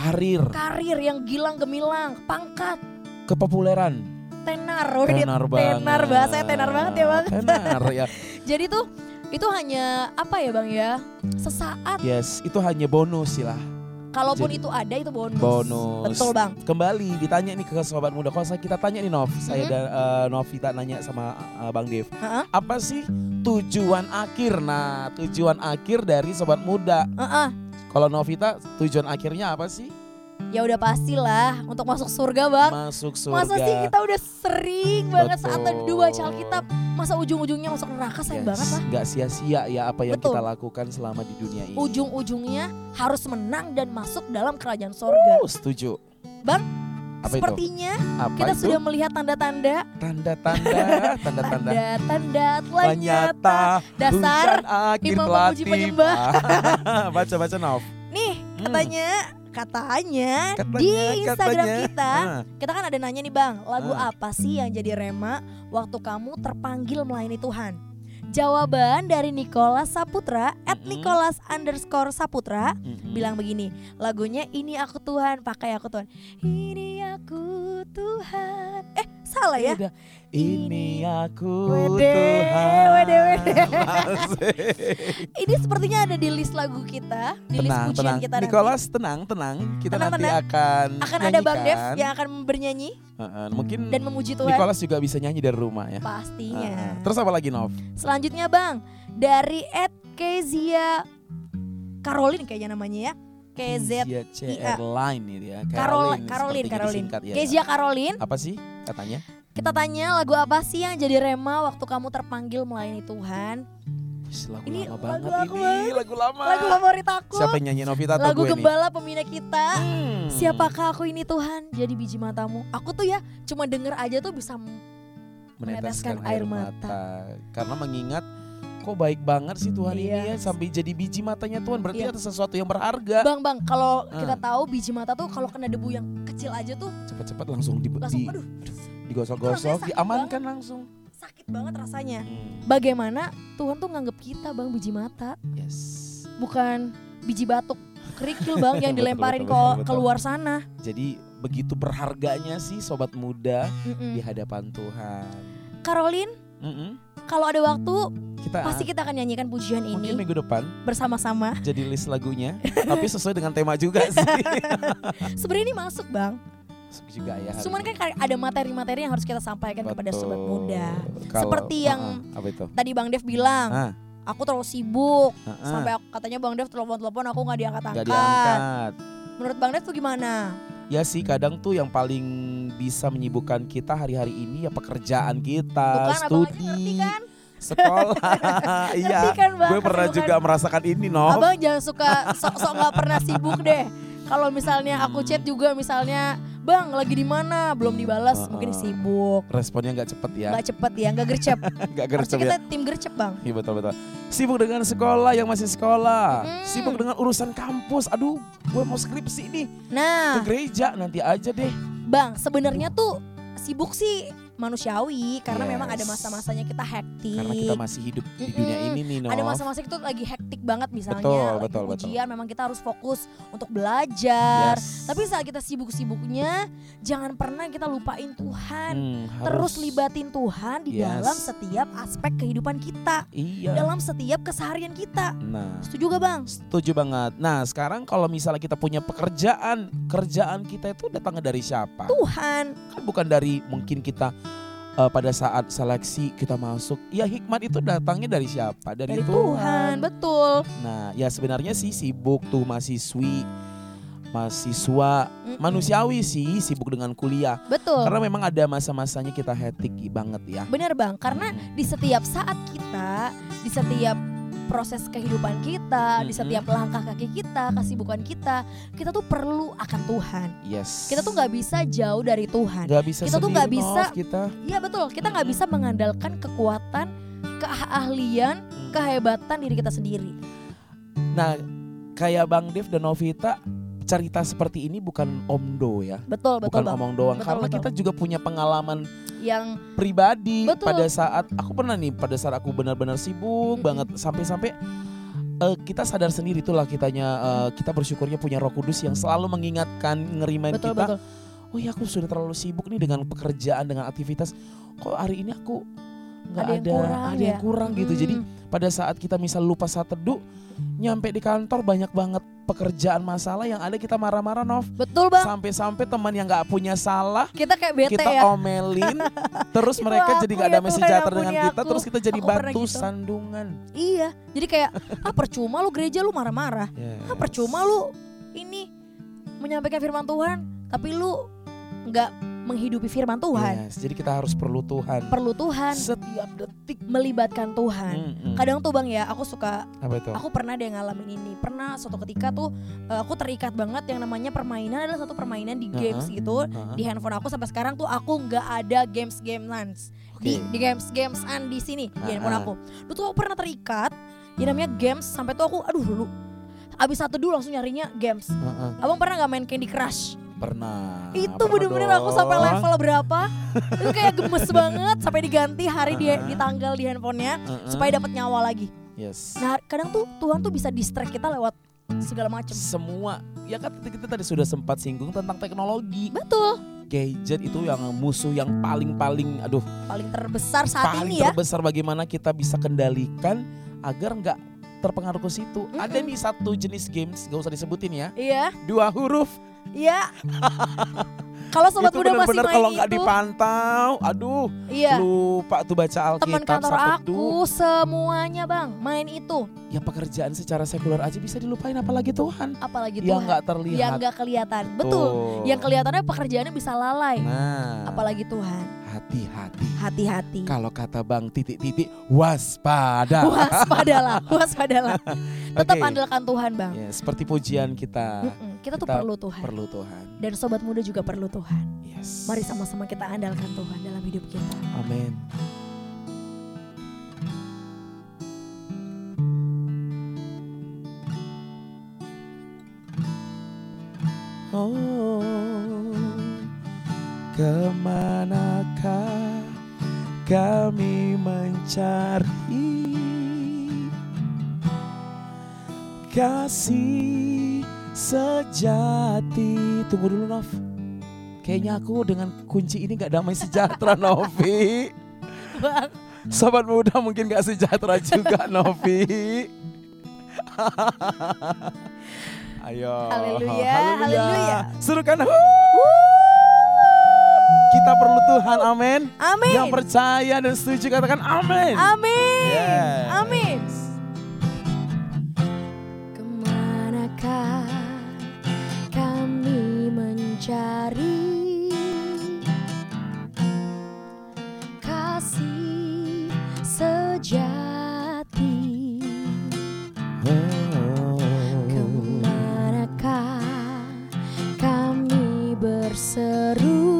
karir, karir yang gilang gemilang, pangkat, kepopuleran. tenar, Udah Tenar dia banget. tenar bahasanya tenar banget ya bang. Tenar ya. Jadi tuh itu hanya apa ya bang ya sesaat. Yes, itu hanya bonus ya. sih lah. Kalaupun Jadi- itu ada itu bonus. Bonus. Betul bang. Kembali ditanya nih ke sobat muda. Kalau saya kita tanya nih Nov, saya Mhm. dan eh, Novita nanya sama eh, Bang Dev. Heeh. Apa sih tujuan akhir? Nah, tujuan akhir dari sobat muda. Heeh. Kalau Novita, tujuan akhirnya apa sih? Ya udah pastilah untuk masuk surga bang. Masuk surga. Masa sih kita udah sering banget saat Betul. dua baca Alkitab Masa ujung-ujungnya masuk neraka sayang Yes, banget lah nggak sia-sia ya apa yang Betul. kita lakukan selama di dunia ini. Ujung-ujungnya harus menang dan masuk dalam kerajaan sorga Oh, setuju. Bang, apa itu? Sepertinya Apa kita itu? sudah melihat tanda-tanda tanda-tanda, tanda-tanda. Tanda-tanda telah nyata Ternyata Dasar hujan akhir imam telah pemuji tiba. penyembah. Baca-baca Nov. Nih Hmm. katanya Katanya, Katanya, di Instagram katanya. kita Ah, Kita kan ada nanya nih bang Lagu Ah. apa sih yang jadi rema Waktu kamu terpanggil melayani Tuhan Jawaban dari Nicholas Saputra At Mm-mm. Nicholas underscore Saputra mm-mm. bilang begini lagunya ini aku Tuhan pakai aku Tuhan ini aku Tuhan eh Salah ya. Beda. Ini aku Wede, Tuhan. wede, wede. Asik. Ini sepertinya ada di list lagu kita, di tenang, list pujian tenang. kita nanti. Nicholas tenang, tenang. Kita Tenang, nanti tenang. akan Akan ada Bang Dev nyanyikan. yang akan bernyanyi Heeh, mungkin dan memuji Tuhan. Nicholas juga bisa nyanyi dari rumah ya. Pastinya. Heeh. Terus apa lagi Nov? Selanjutnya Bang, dari Ed Kezia Caroline kayaknya namanya ya. KZ Iya, CR Line ini ya. Carol Caroline Caroline, sepertinya Caroline. disingkat, ya. Kezia Caroline, Apa sih katanya? kita tanya lagu apa sih yang jadi rema waktu kamu terpanggil melayani Tuhan? Wih, lagu Ini lama lagu banget aku ini, banget. lagu lama. Lagu favorit aku. Siapa yang nyanyi Novita atau lagu gue nih? gembala pembina kita. Hmm. Siapakah aku ini Tuhan? Jadi biji matamu. Aku tuh ya cuma denger aja tuh bisa m- Meneteskan meneteskan air air mata. mata. karena mengingat kok baik banget sih Tuhan ini Iya. ya sampai jadi biji matanya Tuhan berarti Iya. ada sesuatu yang berharga Bang Bang, kalau Ah. kita tahu biji mata tuh kalau kena debu yang kecil aja tuh cepat-cepat langsung di, langsung di- aduh Rasanya digosok-gosok sakit diamankan langsung sakit banget rasanya. Hmm, Bagaimana Tuhan tuh nganggap kita Bang biji mata, yes bukan biji batuk kerikil Bang yang Betul, dilemparin betul, betul, ke betul. keluar sana. jadi begitu berharganya sih sobat muda di Mm-mm. hadapan Tuhan Caroline, Mm-mm. kalau ada waktu kita pasti kita akan nyanyikan pujian ini mungkin minggu depan bersama-sama. jadi list lagunya tapi sesuai dengan tema juga sih Sebenarnya ini masuk Bang. Masuk juga ya hari Cuman ini. kan kar- ada materi-materi yang harus kita sampaikan kepada sobat Betul. muda. Kalau- Seperti Ah, yang- ah, apa itu Tadi Bang Dev bilang, Ah, aku terlalu sibuk. ah, ah. Sampai aku- katanya Bang Dev telepon-telepon aku nggak Gak diangkat-angkat. diangkat Menurut Bang Dev tuh gimana? Ya sih kadang tuh yang paling bisa menyibukkan kita hari-hari ini ya pekerjaan kita, Bukan abang aja Ah, studi, ngerti kan? sekolah. Ngerti Iya. kan Bang? Gue pernah kesibukan. juga merasakan ini, Nov. Abang jangan suka sok-sok nggak pernah sibuk deh. Kalau misalnya aku chat juga misalnya, Bang lagi di mana? Belum dibalas, Heeh. mungkin sibuk. Responnya nggak cepet ya, Gak cepet ya, gak gercep. Harusnya nggak gercep ya. kita tim gercep bang. Iya betul-betul. Sibuk dengan sekolah yang masih sekolah, Mm. sibuk dengan urusan kampus. Aduh, gue mau skripsi nih ke Nah, gereja nanti aja deh. bang sebenarnya tuh sibuk sih manusiawi karena memang ada Yes. masa-masanya kita hektik. Karena kita masih hidup di dunia Mm-mm. ini nih, Nov. Ada masa-masa itu lagi hektik banget misalnya Betul, lagi betul, betul. ujian memang kita harus fokus untuk belajar. Tapi saat kita sibuk-sibuknya jangan pernah kita lupain Tuhan. terus libatin Tuhan di Hmm, Yes. dalam setiap aspek kehidupan kita, Iya. dalam setiap keseharian kita. Nah, Setuju gak bang? Setuju banget. Nah, sekarang kalau misalnya kita punya pekerjaan, kerjaan kita itu datangnya dari siapa? Tuhan, Kan bukan dari mungkin kita eh, pada saat seleksi kita masuk. Ya hikmat itu datangnya dari siapa? Dari, dari Tuhan, Tuhan. betul. Nah, ya sebenarnya sih sibuk tuh mahasiswi, mahasiswa, Mm-mm. manusiawi sih sibuk dengan kuliah. Betul. Karena memang ada masa-masanya kita hektik banget ya. Bener bang, karena di setiap saat kita, di setiap proses kehidupan kita, di Mm-mm. setiap langkah kaki kita, kesibukan kita, kita tuh perlu akan Tuhan. Yes. Kita tuh nggak bisa jauh dari Tuhan. Nggak bisa kita tuh nggak sendiri, bisa- Nov, kita. Iya betul, kita nggak bisa mengandalkan kekuatan, keahlian, kehebatan diri kita sendiri. Nah, kayak Bang Dev dan Novita cerita seperti ini bukan omdo ya, Betul bukan betul bang. omong doang. Betul, Karena betul. kita juga punya pengalaman Yang pribadi Betul. pada saat aku pernah nih, pada saat aku benar-benar sibuk Mm-mm. banget sampai-sampai eh, kita sadar sendiri itulah kitanya eh, kita bersyukurnya punya Roh Kudus yang selalu mengingatkan, ngerimain betul kita. betul. Oh iya aku sudah terlalu sibuk nih dengan pekerjaan, dengan aktivitas. Kok hari ini aku nggak Ada ada, yang kurang ada yang ya?" kurang gitu. Jadi Hmm, pada saat kita misal lupa saat teduh nyampe di kantor banyak banget pekerjaan masalah yang ada kita marah-marah Nov betul bang sampai-sampai teman yang nggak punya salah kita kayak bete kita ya omelin terus Itu mereka aku jadi nggak ya, ada Tuhan, mesejahter ampuni dengan kita aku. terus kita jadi Aku pernah batu gitu. sandungan iya jadi kayak ah percuma lu gereja lu marah-marah ah percuma lu ini menyampaikan firman Tuhan tapi lu nggak menghidupi firman Tuhan Yes, jadi kita harus perlu Tuhan perlu Tuhan Iya. setiap detik melibatkan Tuhan Mm-mm. kadang tuh bang ya aku suka apa itu aku pernah deh ngalamin ini pernah suatu ketika tuh eh, aku terikat banget yang namanya permainan adalah satu permainan di games gitu Hah? di handphone aku sampai sekarang tuh aku nggak ada games game di Oke. di games gamesan di sini di Ah, handphone ah. aku. Dulu tuh aku pernah terikat yang namanya games sampai tuh aku aduh dulu abis satu dulu langsung nyarinya games. Heeh, Abang pernah nggak main Candy Crush? pernah itu Ah, pernah bener-bener aku sampai dong. level berapa? itu kayak gemes banget sampai diganti hari di, Ah. di tanggal di handphonenya Heeh. supaya dapat nyawa lagi. yes Nah kadang tuh Tuhan tuh bisa distract kita lewat segala macam. semua ya kan kita tadi sudah sempat singgung tentang teknologi Betul. gadget itu yang musuh yang paling-paling aduh paling terbesar saat ini paling ya. terbesar bagaimana kita bisa kendalikan agar nggak terpengaruh ke situ. Mm-mm. Ada nih satu jenis games gak usah disebutin ya. Iya, Dua huruf iya. Kalau sobat itu muda masih benar-benar main kalau nggak itu, dipantau, aduh iya. lupa tuh baca Teman Alkitab kantor tuh. aku semuanya bang main itu, Ya pekerjaan secara sekuler aja bisa dilupain apalagi Tuhan. apalagi yang Gitu, Tuhan. nggak yang terlihat. nggak kelihatan, betul. Tuh. Yang kelihatannya pekerjaannya bisa lalai, Nah, apalagi Tuhan. hati-hati. Hati-hati. Kalau kata Bang titik-titik waspada. Waspadalah, waspadalah. Tetap Oke. andalkan Tuhan bang. Ya, seperti pujian kita Mm-mm, Kita tuh kita perlu Tuhan. perlu Tuhan. Dan sobat muda juga perlu Tuhan. Yes. Mari sama-sama kita andalkan Tuhan dalam hidup kita. Amin. Oh, kemanakah kami mencari kasih sejati? Tunggu dulu, Nov. Kayaknya aku dengan kunci ini gak damai sejahtera Novi Bang. Sobat muda mungkin gak sejahtera juga Novi Ayo Haleluya, haleluya. Serukan "Hu!" Kita perlu Tuhan amin Amin. Yang percaya dan setuju katakan amin Amin. Yes. Amin. Kemanakah kami mencari kasih sejati? Kemanakah kami berseru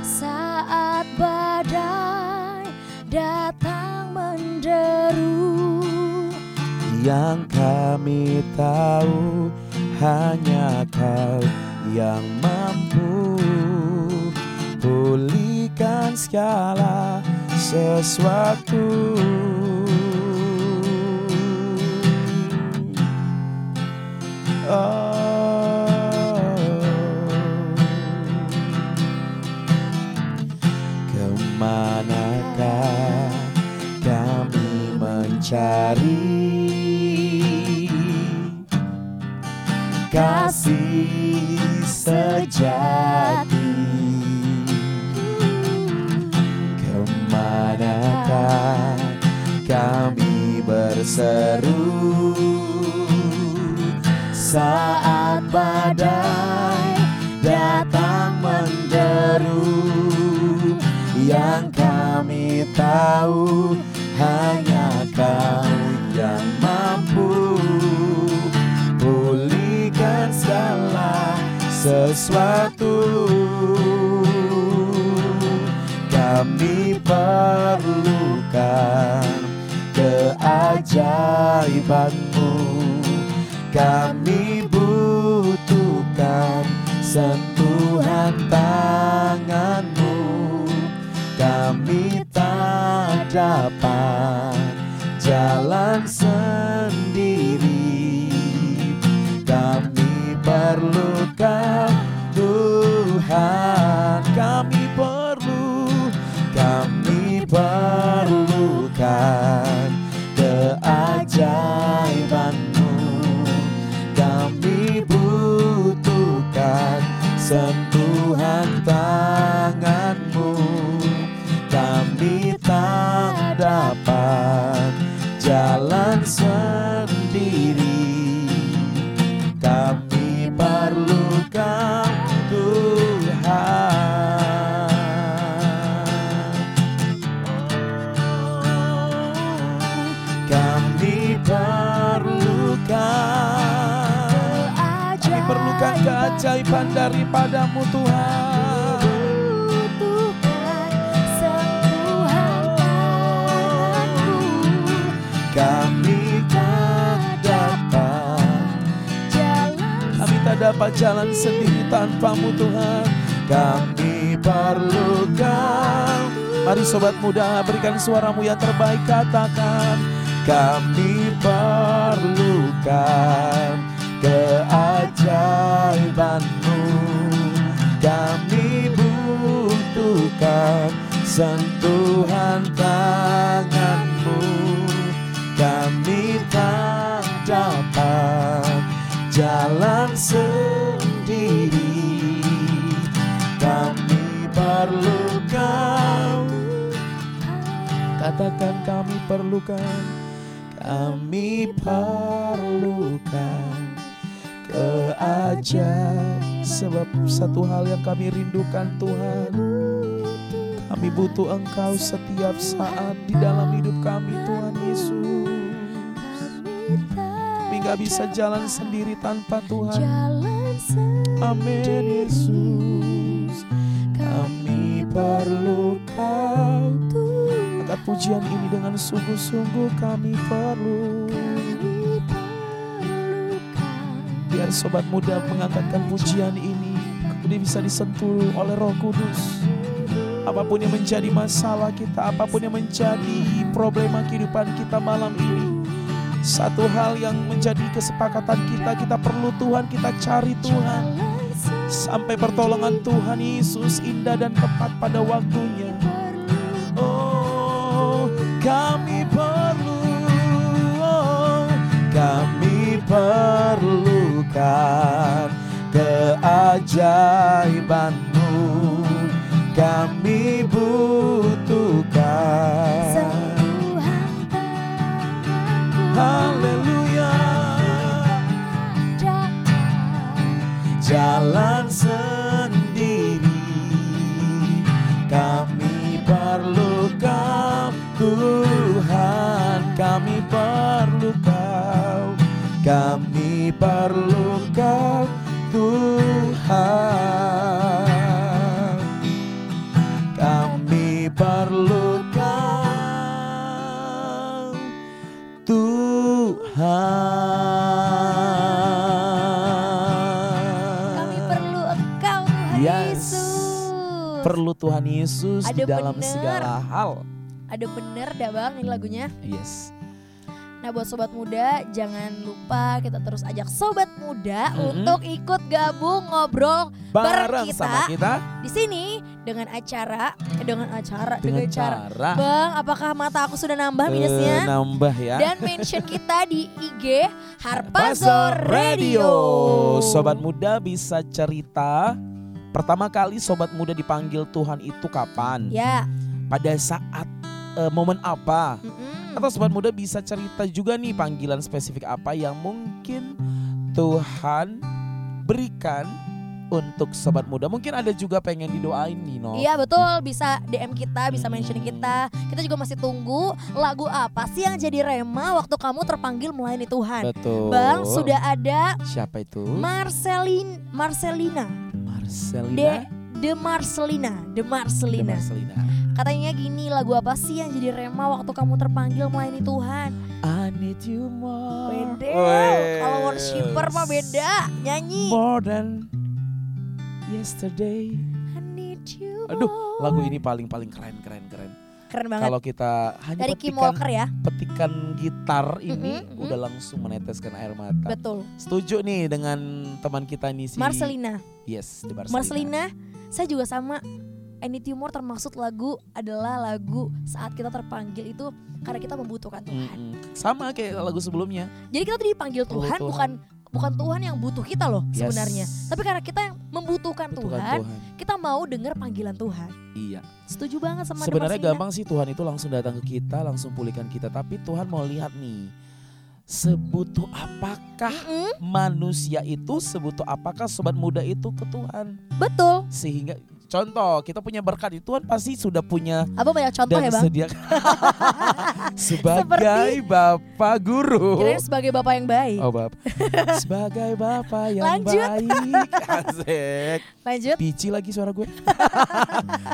saat badai datang menderu? Yang kami tahu hanya kau yang mampu Pulihkan segala sesuatu Oh Kemanakah kami mencari kasih sejati Kemanakah kami berseru Saat badai datang menderu yang kami tahu hanya kau yang mampu Pulihkan segala sesuatu Kami perlukan keajaibanmu Kami butuhkan sentuhan tanganmu Kami tak dapat jalan sendiri Kami perlukan Tuhan Kami perlu Kami perlukan Keajaibanmu Kami butuhkan Sentuhan tanganmu Kami tak dapat Jalan sendiri kami perlukan Tuhan Kami perlukan Kami perlukan keajaiban daripadamu Tuhan Kami tak dapat Kami tak dapat jalan sendiri tanpamu Tuhan Kami perlukan Mari sobat muda berikan suaramu yang terbaik katakan Kami perlukan keajaibanmu sentuhan tanganmu kami tak dapat jalan sendiri kami perlu kau katakan kami perlukan kami perlukan keajaiban sebab satu hal yang kami rindukan Tuhan kami butuh Engkau setiap saat di dalam hidup kami Tuhan Yesus kami gak bisa jalan sendiri tanpa Tuhan Jalan Amin Yesus Kami perlu kau Angkat pujian ini dengan sungguh-sungguh kami perlu Biar sobat muda mengangkatkan pujian ini Kemudian bisa disentuh oleh roh kudus Apapun yang menjadi masalah kita Apapun yang menjadi problema kehidupan kita malam ini satu hal yang menjadi kesepakatan kita Kita perlu Tuhan, kita cari Tuhan Sampai pertolongan Tuhan Yesus indah dan tepat pada waktunya Oh, kami perlu oh, Kami perlukan keajaibanmu Kami butuhkan Haleluya Jalan sendiri Kami perlu kau Tuhan Kami perlu kau Kami perlu kau Tuhan Kami perlu kau Tuhan. Kami perlu engkau Tuhan Yes. Yesus Perlu Tuhan Yesus di Ada dalam bener. segala hal. Ada bener dah bang ini lagunya Yes. Nah buat sobat muda jangan lupa kita terus ajak sobat muda Mm-mm. Untuk ikut gabung ngobrol Bareng kita, sama kita di sini Dengan acara eh, Dengan acara dengan Dengan, cara cara Bang apakah mata aku sudah nambah eh, minusnya? nambah ya. Dan mention kita di IG Harpazo Pazo Radio Sobat muda bisa cerita pertama kali sobat muda dipanggil Tuhan itu kapan? Ya Pada saat eh, momen apa? mm-mm. Atau sobat muda bisa cerita juga nih panggilan spesifik apa yang mungkin Tuhan berikan untuk sobat muda. Mungkin ada juga pengen didoain nih, no. Iya betul bisa DM kita bisa mention kita kita juga masih tunggu lagu apa sih yang jadi rema waktu kamu terpanggil melayani Tuhan Betul. Bang sudah ada Siapa itu? Marcelin Marcelina Marcelina. De De Marcelina De Marcelina Marcelina. katanya gini lagu apa sih yang jadi rema waktu kamu terpanggil melayani Tuhan I need you more. Beda Wes. kalau worshiper mah beda nyanyi More than yesterday. I need you Aduh, more. Lagu ini paling paling keren keren keren. keren Oh. banget Kalau kan? kita hanya dari Kim petikan Walker ya petikan gitar ini Mhm, mhm. udah langsung meneteskan air mata. betul Setuju nih dengan teman kita nih si Marcelina Yes, di Marcelina. Marcelina, saya juga sama. Any Tumor termaksud lagu adalah lagu saat kita terpanggil itu karena kita Hmm. membutuhkan Tuhan. Mm-mm. Sama kayak lagu sebelumnya. Jadi kita tuh dipanggil Perlu Tuhan, Tuhan. bukan bukan Tuhan yang butuh kita loh Yes. sebenarnya. Tapi karena kita yang membutuhkan Butuhkan Tuhan, kita mau dengar panggilan Tuhan. Iya. Setuju banget sama Sebenarnya Marcelina. gampang sih Tuhan itu langsung datang ke kita, langsung pulihkan kita. Tapi Tuhan mau lihat nih, sebutuh apakah Mm-mm, manusia itu, sebutuh apakah sobat muda itu ke Tuhan. betul. Sehingga contoh kita punya berkat itu Tuhan pasti sudah punya Apa banyak contoh dan ya bang? sedia sebagai bapak guru. Kirain sebagai bapak yang baik. Oh Bap. Sebagai bapak yang Lanjut. baik. Asik. Lanjut. Pici lagi suara gue.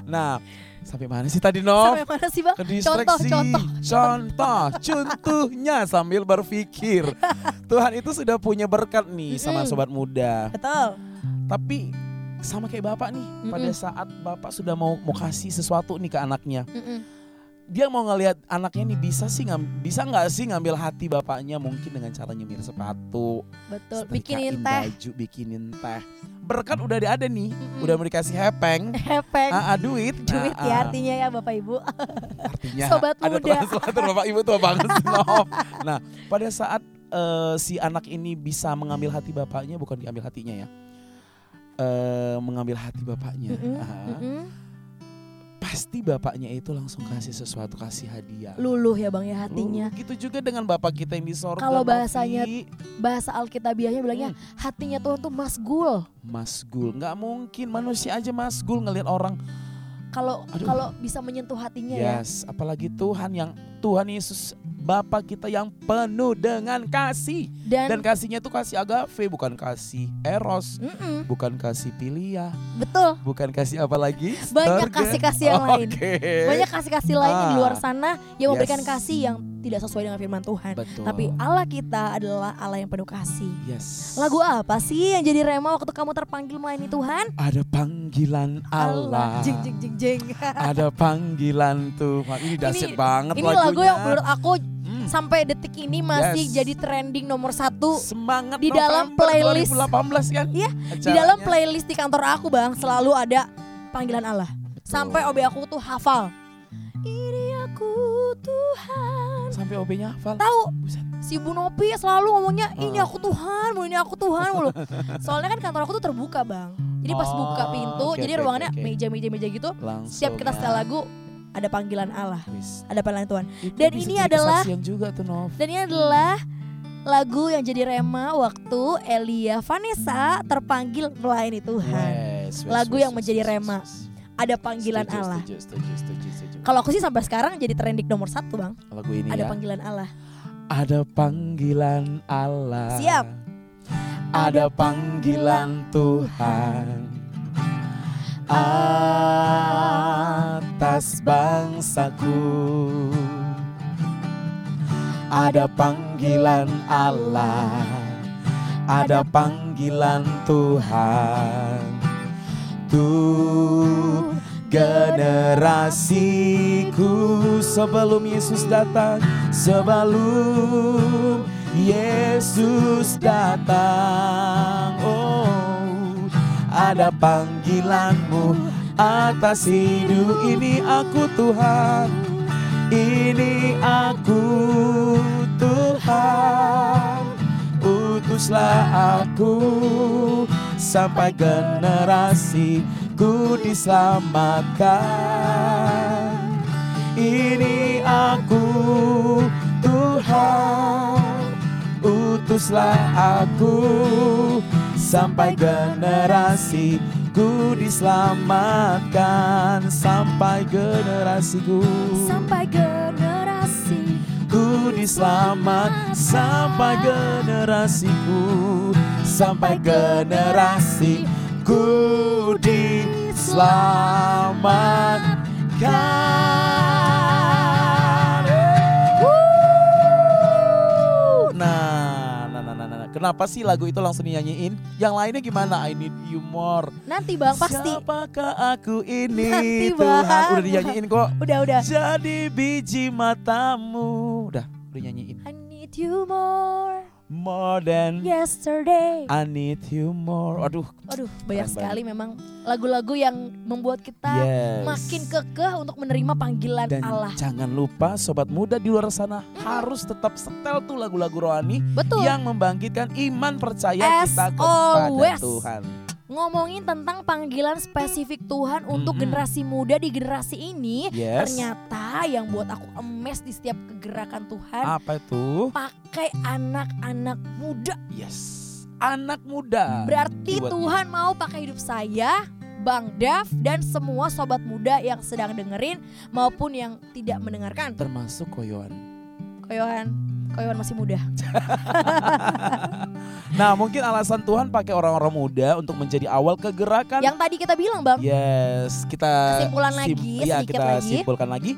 nah, sampai mana sih tadi Nov? Sampai mana sih bang? Contoh, Kedistraksi. contoh. contoh, contohnya sambil berpikir. Tuhan itu sudah punya berkat nih sama Mm-mm. sobat muda. Betul. Tapi sama kayak bapak nih, pada saat bapak sudah mau mau kasih sesuatu nih ke anaknya, Mm-mm. dia mau ngelihat anaknya nih bisa sih ngam, bisa nggak sih ngambil hati bapaknya mungkin dengan cara nyemir sepatu, Betul. setrikain Bikinin teh. baju bikinin teh berkat udah ada nih, Mm-mm. udah dikasih hepeng, Hepeng. ah, ah, duit, Duit Ah, ya ah. artinya ya Bapak Ibu. artinya Sobat ada muda. translator bapak ibu tua banget sih, Nof. Nah pada saat eh, si anak ini bisa mengambil hati bapaknya bukan diambil hatinya ya, Eh, mengambil hati bapaknya, Mm-mm, Ah, mm-mm. pasti bapaknya itu langsung kasih sesuatu kasih hadiah. Luluh ya Bang ya Lu, hatinya. Gitu juga dengan bapak kita yang di sorga. Kalau Novi. bahasanya Oh. Bahasa Alkitabiahnya Hmm. bilangnya hatinya Tuhan tuh masgul. Masgul, nggak mungkin manusia aja masgul ngelihat orang. Kalau Aduh. kalau bisa menyentuh hatinya ya. Yes, apalagi Tuhan yang Tuhan Yesus Bapa kita yang penuh dengan kasih Dan, dan kasihnya itu kasih agave bukan kasih eros, Mm-mm, bukan kasih pilia, betul. bukan kasih apa lagi? Banyak Sorga. kasih-kasih yang lain. Oke. Banyak kasih-kasih lain di Eh. Ah. luar sana yang Yes. memberikan kasih yang tidak sesuai dengan firman Tuhan. Betul. Tapi Allah kita adalah Allah yang penuh kasih. yes. Lagu apa sih yang jadi rema waktu kamu terpanggil melayani Tuhan? ada panggilan Allah. Jing jing jing jing. Ada panggilan Tuhan. Ini dahsyat banget Ini lagunya. lagu yang menurut aku Hmm. sampai detik ini masih Yes. jadi trending nomor satu Semangat di dalam November playlist. 2018 kan? Iya, di Acaranya. dalam playlist di kantor aku bang selalu ada panggilan Allah. Sampai Oh. OB aku tuh hafal. Ini aku Tuhan. sampai OB-nya hafal. Tahu Buset. Oh. si Bu Nopi selalu ngomongnya ini Heeh. aku Tuhan, mulu, ini aku Tuhan mulu. Soalnya kan kantor aku tuh terbuka bang. Jadi pas Oh, buka pintu, oke, jadi oke, ruangannya oke, oke. meja-meja-meja gitu. Langsung. Setiap kita ya. setel lagu ada panggilan Allah, Wis. ada panggilan Tuhan. Itu Dan bisa ini jadi adalah- kesaksian juga tuh Nov. Dan ini adalah lagu yang jadi rema waktu Elia Vanessa terpanggil melayani Tuhan. Yes, wis, Lagu wis, yang wis, menjadi wis, wis, rema. wis. Ada panggilan Iya. Setuju, Allah. Setuju, setuju, setuju, setuju. Kalau aku sih sampai sekarang jadi trending nomor satu bang. lagu ini Ada ya. panggilan Allah. Ada panggilan Allah. Siap. Ada panggilan Tuhan. Atas bangsaku. Ada panggilan Allah. Ada panggilan Tuhan. Tuh generasiku sebelum Yesus datang, sebelum Yesus datang. Oh, ada panggilanmu atas hidup ini aku Tuhan, ini aku Tuhan. Utuslah aku sampai generasi ku diselamatkan Ini aku Tuhan Utuslah aku Sampai generasi ku diselamatkan Sampai generasiku sampai generasi ku diselamat sampai generasiku sampai generasi ku diselamatkan Wuh. nah, nah, nah, nah, nah, nah. Kenapa sih lagu itu langsung dinyanyiin? Yang lainnya gimana? I need you more. Nanti bang pasti. Siapakah aku ini? Nanti, Tuhan Bang. udah dinyanyiin kok. Udah udah. Jadi biji matamu Udah, udah nyanyiin I need you more More than yesterday. I need you more Aduh Ah, Aduh banyak Keren sekali memang lagu-lagu yang membuat kita Yes makin kekeh untuk menerima panggilan Dan Allah. Hmm. jangan lupa sobat muda di luar sana Harus tetap setel tuh lagu-lagu rohani Betul. Yang membangkitkan iman percaya As kita kepada always. Tuhan Ngomongin tentang panggilan spesifik Tuhan untuk Mm-mm. generasi muda di generasi ini. Yes Ternyata yang buat aku emes di setiap kegerakan Tuhan. Apa itu? Pakai anak-anak muda. Yes Anak muda Berarti Buat- Tuhan mau pakai hidup saya, Bang Daf dan semua sobat muda yang sedang dengerin maupun yang tidak mendengarkan. Termasuk koyoan Koyohan, Koyohan masih muda. Nah mungkin alasan Tuhan pakai orang-orang muda Untuk menjadi awal kegerakan Yang tadi kita bilang, Bang, Yes, kita Kesimpulan lagi, ya, sedikit kita lagi. simpulkan lagi.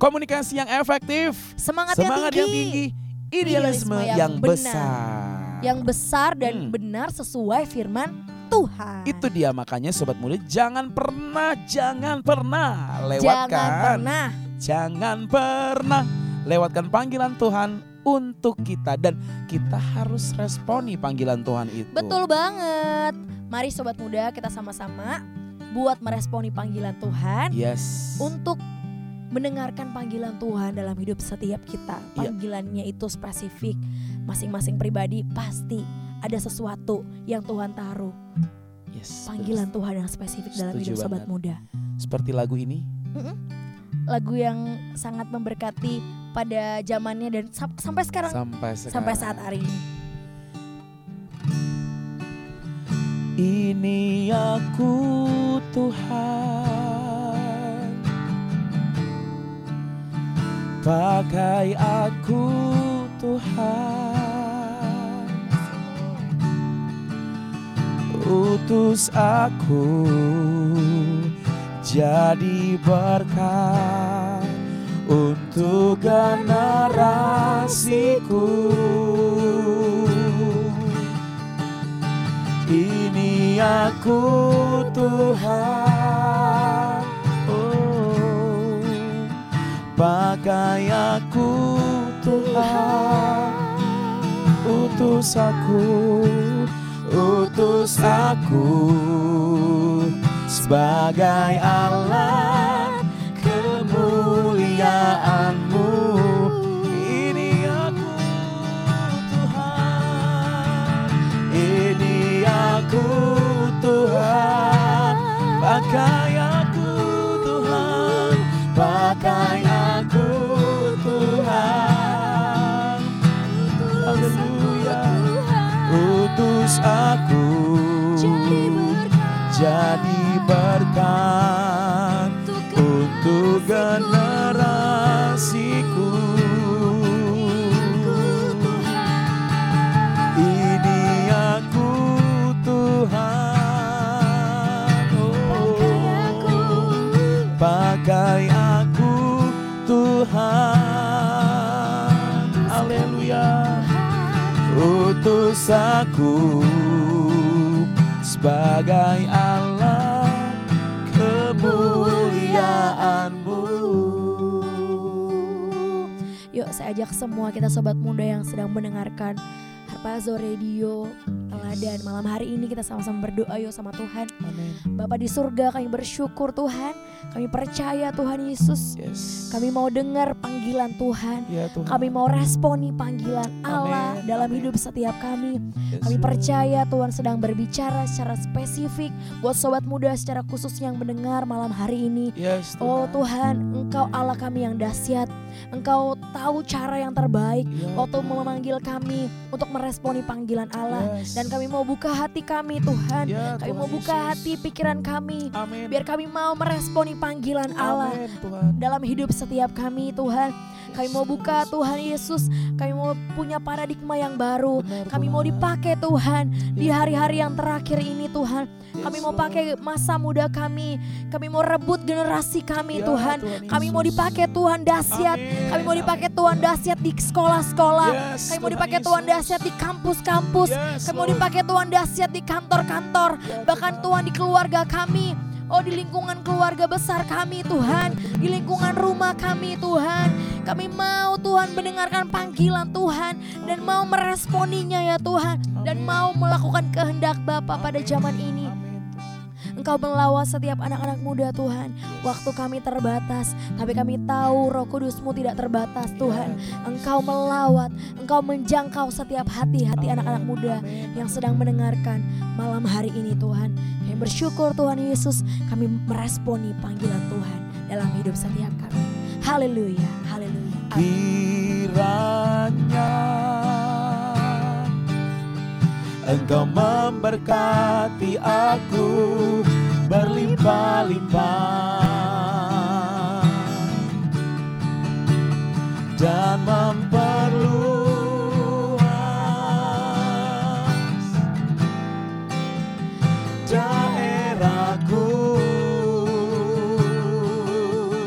Komunikasi yang efektif, semangat, semangat yang, yang tinggi, tinggi, idealisme Idealisme yang, yang benar. besar. yang besar dan Hmm. benar sesuai firman Tuhan. itu dia makanya sobat muda jangan pernah jangan pernah Jangan lewatkan pernah jangan pernah lewatkan panggilan Tuhan untuk kita dan kita harus responi panggilan Tuhan itu. Betul banget. Mari sobat muda kita sama-sama buat meresponi panggilan Tuhan Yes. untuk mendengarkan panggilan Tuhan dalam hidup setiap kita. Iya. Panggilannya itu spesifik. Masing-masing pribadi pasti ada sesuatu yang Tuhan taruh. Yes, Panggilan Tuhan yang spesifik dalam Setuju hidup sobat banget. muda. betul. Seperti lagu ini. Lagu yang sangat memberkati pada zamannya dan sam- sampai sekarang Sampai sekarang. sampai saat hari ini. Ini aku Tuhan Pakai aku Tuhan Utus aku Jadi berkat Untuk generasiku ini aku Tuhan oh, Pakai aku Tuhan Utus aku Utus aku Sebagai alat kemuliaanmu Ini aku Tuhan Ini aku Tuhan Pakai aku Tuhan Pakai aku Tuhan Haleluya Utus aku Jadi berkat untuk generasiku ini aku Tuhan oh. pakai aku Tuhan haleluya utus aku sebagai alat kemuliaanmu Yuk saya ajak semua kita sobat muda yang sedang mendengarkan Harpazo Radio Teladan Malam hari ini kita sama-sama berdoa yuk sama Tuhan Bapak di surga kami bersyukur Tuhan Kami percaya Tuhan Yesus Yes. Kami mau dengar panggilan Tuhan ya, Tuhan. Kami mau responi panggilan Allah Amin, dalam amin. hidup setiap kami Yes, Kami Lord. percaya Tuhan sedang berbicara secara spesifik Buat sobat muda secara khusus yang mendengar malam hari ini Yes, Tuhan. Oh Tuhan, Engkau Allah kami yang dahsyat. Engkau tahu cara yang terbaik Ya, waktu memanggil kami untuk meresponi panggilan Allah. Yes. Dan kami mau buka hati kami Tuhan. Ya, Kami Tuhan mau buka Yesus. hati pikiran kami. Amin. Biar kami mau meresponi panggilan Allah Amin, Tuhan. dalam hidup setiap kami Tuhan. Kami Yes, mau buka Tuhan. Tuhan Yesus. Kami mau punya paradigma yang baru. Benar, Kami Tuhan. mau dipakai Tuhan di Yes, hari-hari yang terakhir ini Tuhan. Yes, Kami mau Lord. pakai masa muda kami. Kami mau rebut generasi kami Ya, Tuhan. Kami mau dipakai Tuhan dahsyat. Amin. Kami mau dipakai Tuhan dahsyat di sekolah-sekolah. Yes, Kami mau dipakai Tuhan Yesus. Ya, dahsyat di kampus-kampus. Yes, Kami mau Lord. dipakai Tuhan dahsyat di kantor-kantor. Ya, Bahkan Tuhan di keluarga kami. Oh di lingkungan keluarga besar kami Tuhan. Di lingkungan rumah kami Tuhan. Kami mau Tuhan mendengarkan panggilan Tuhan. Dan mau meresponinya ya Tuhan. Dan Amin. mau melakukan kehendak Bapa pada Amin. zaman ini. Amin, Tuhan. Engkau melawat setiap anak-anak muda Tuhan Waktu kami terbatas Tapi kami tahu roh kudusmu tidak terbatas Tuhan Engkau melawat Engkau menjangkau setiap hati-hati Amin, anak-anak muda amin. Yang sedang mendengarkan malam hari ini Tuhan Kami bersyukur Tuhan Yesus Kami meresponi panggilan Tuhan Dalam hidup setiap kami Haleluya, haleluya Amin. kiranya Engkau memberkati aku berlimpah-limpah dan memperluas daerahku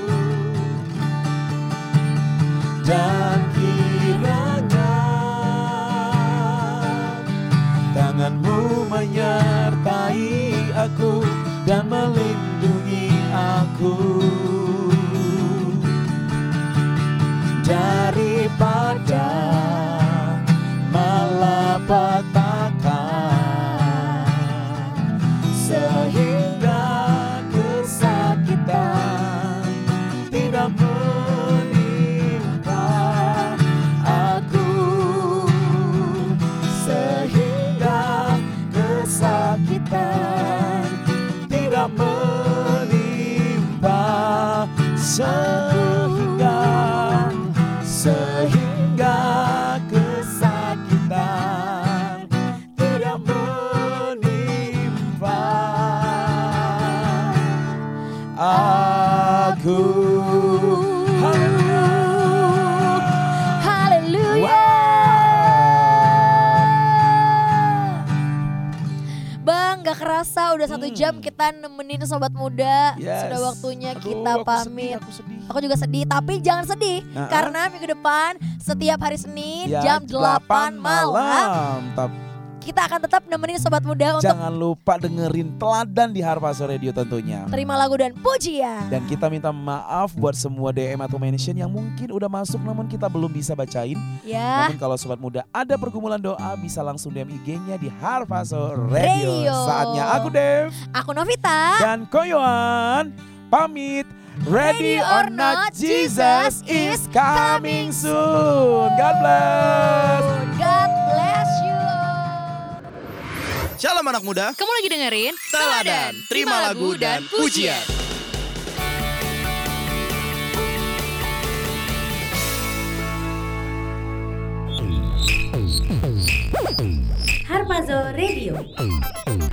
dan kiranya tanganmu menyertai aku dan melindungi aku daripada jam kita nemenin sobat muda. Hmm. Yes. Sudah waktunya Aduh, kita aku pamit. Sedih, aku sedih. Aku juga sedih, tapi jangan sedih Nah, karena minggu depan setiap hari Senin jam Ya, 8 malam Tapi kita akan tetap nemenin sobat muda untuk jangan lupa dengerin teladan di Harpa Sore Radio tentunya. terima lagu dan pujian. Dan kita minta maaf buat semua DM atau mention yang mungkin udah masuk namun kita belum bisa bacain. ya. Namun kalau sobat muda ada pergumulan doa bisa langsung DM IG-nya di Harpaso Radio. Radio. Saatnya aku Dev Aku Novita. dan Koyoan pamit. Ready, or not, Jesus is coming soon. God bless. Oh, God bless you. Shalom anak muda. Kamu lagi dengerin Teladan, terima lagu dan pujian. Harpazo Radio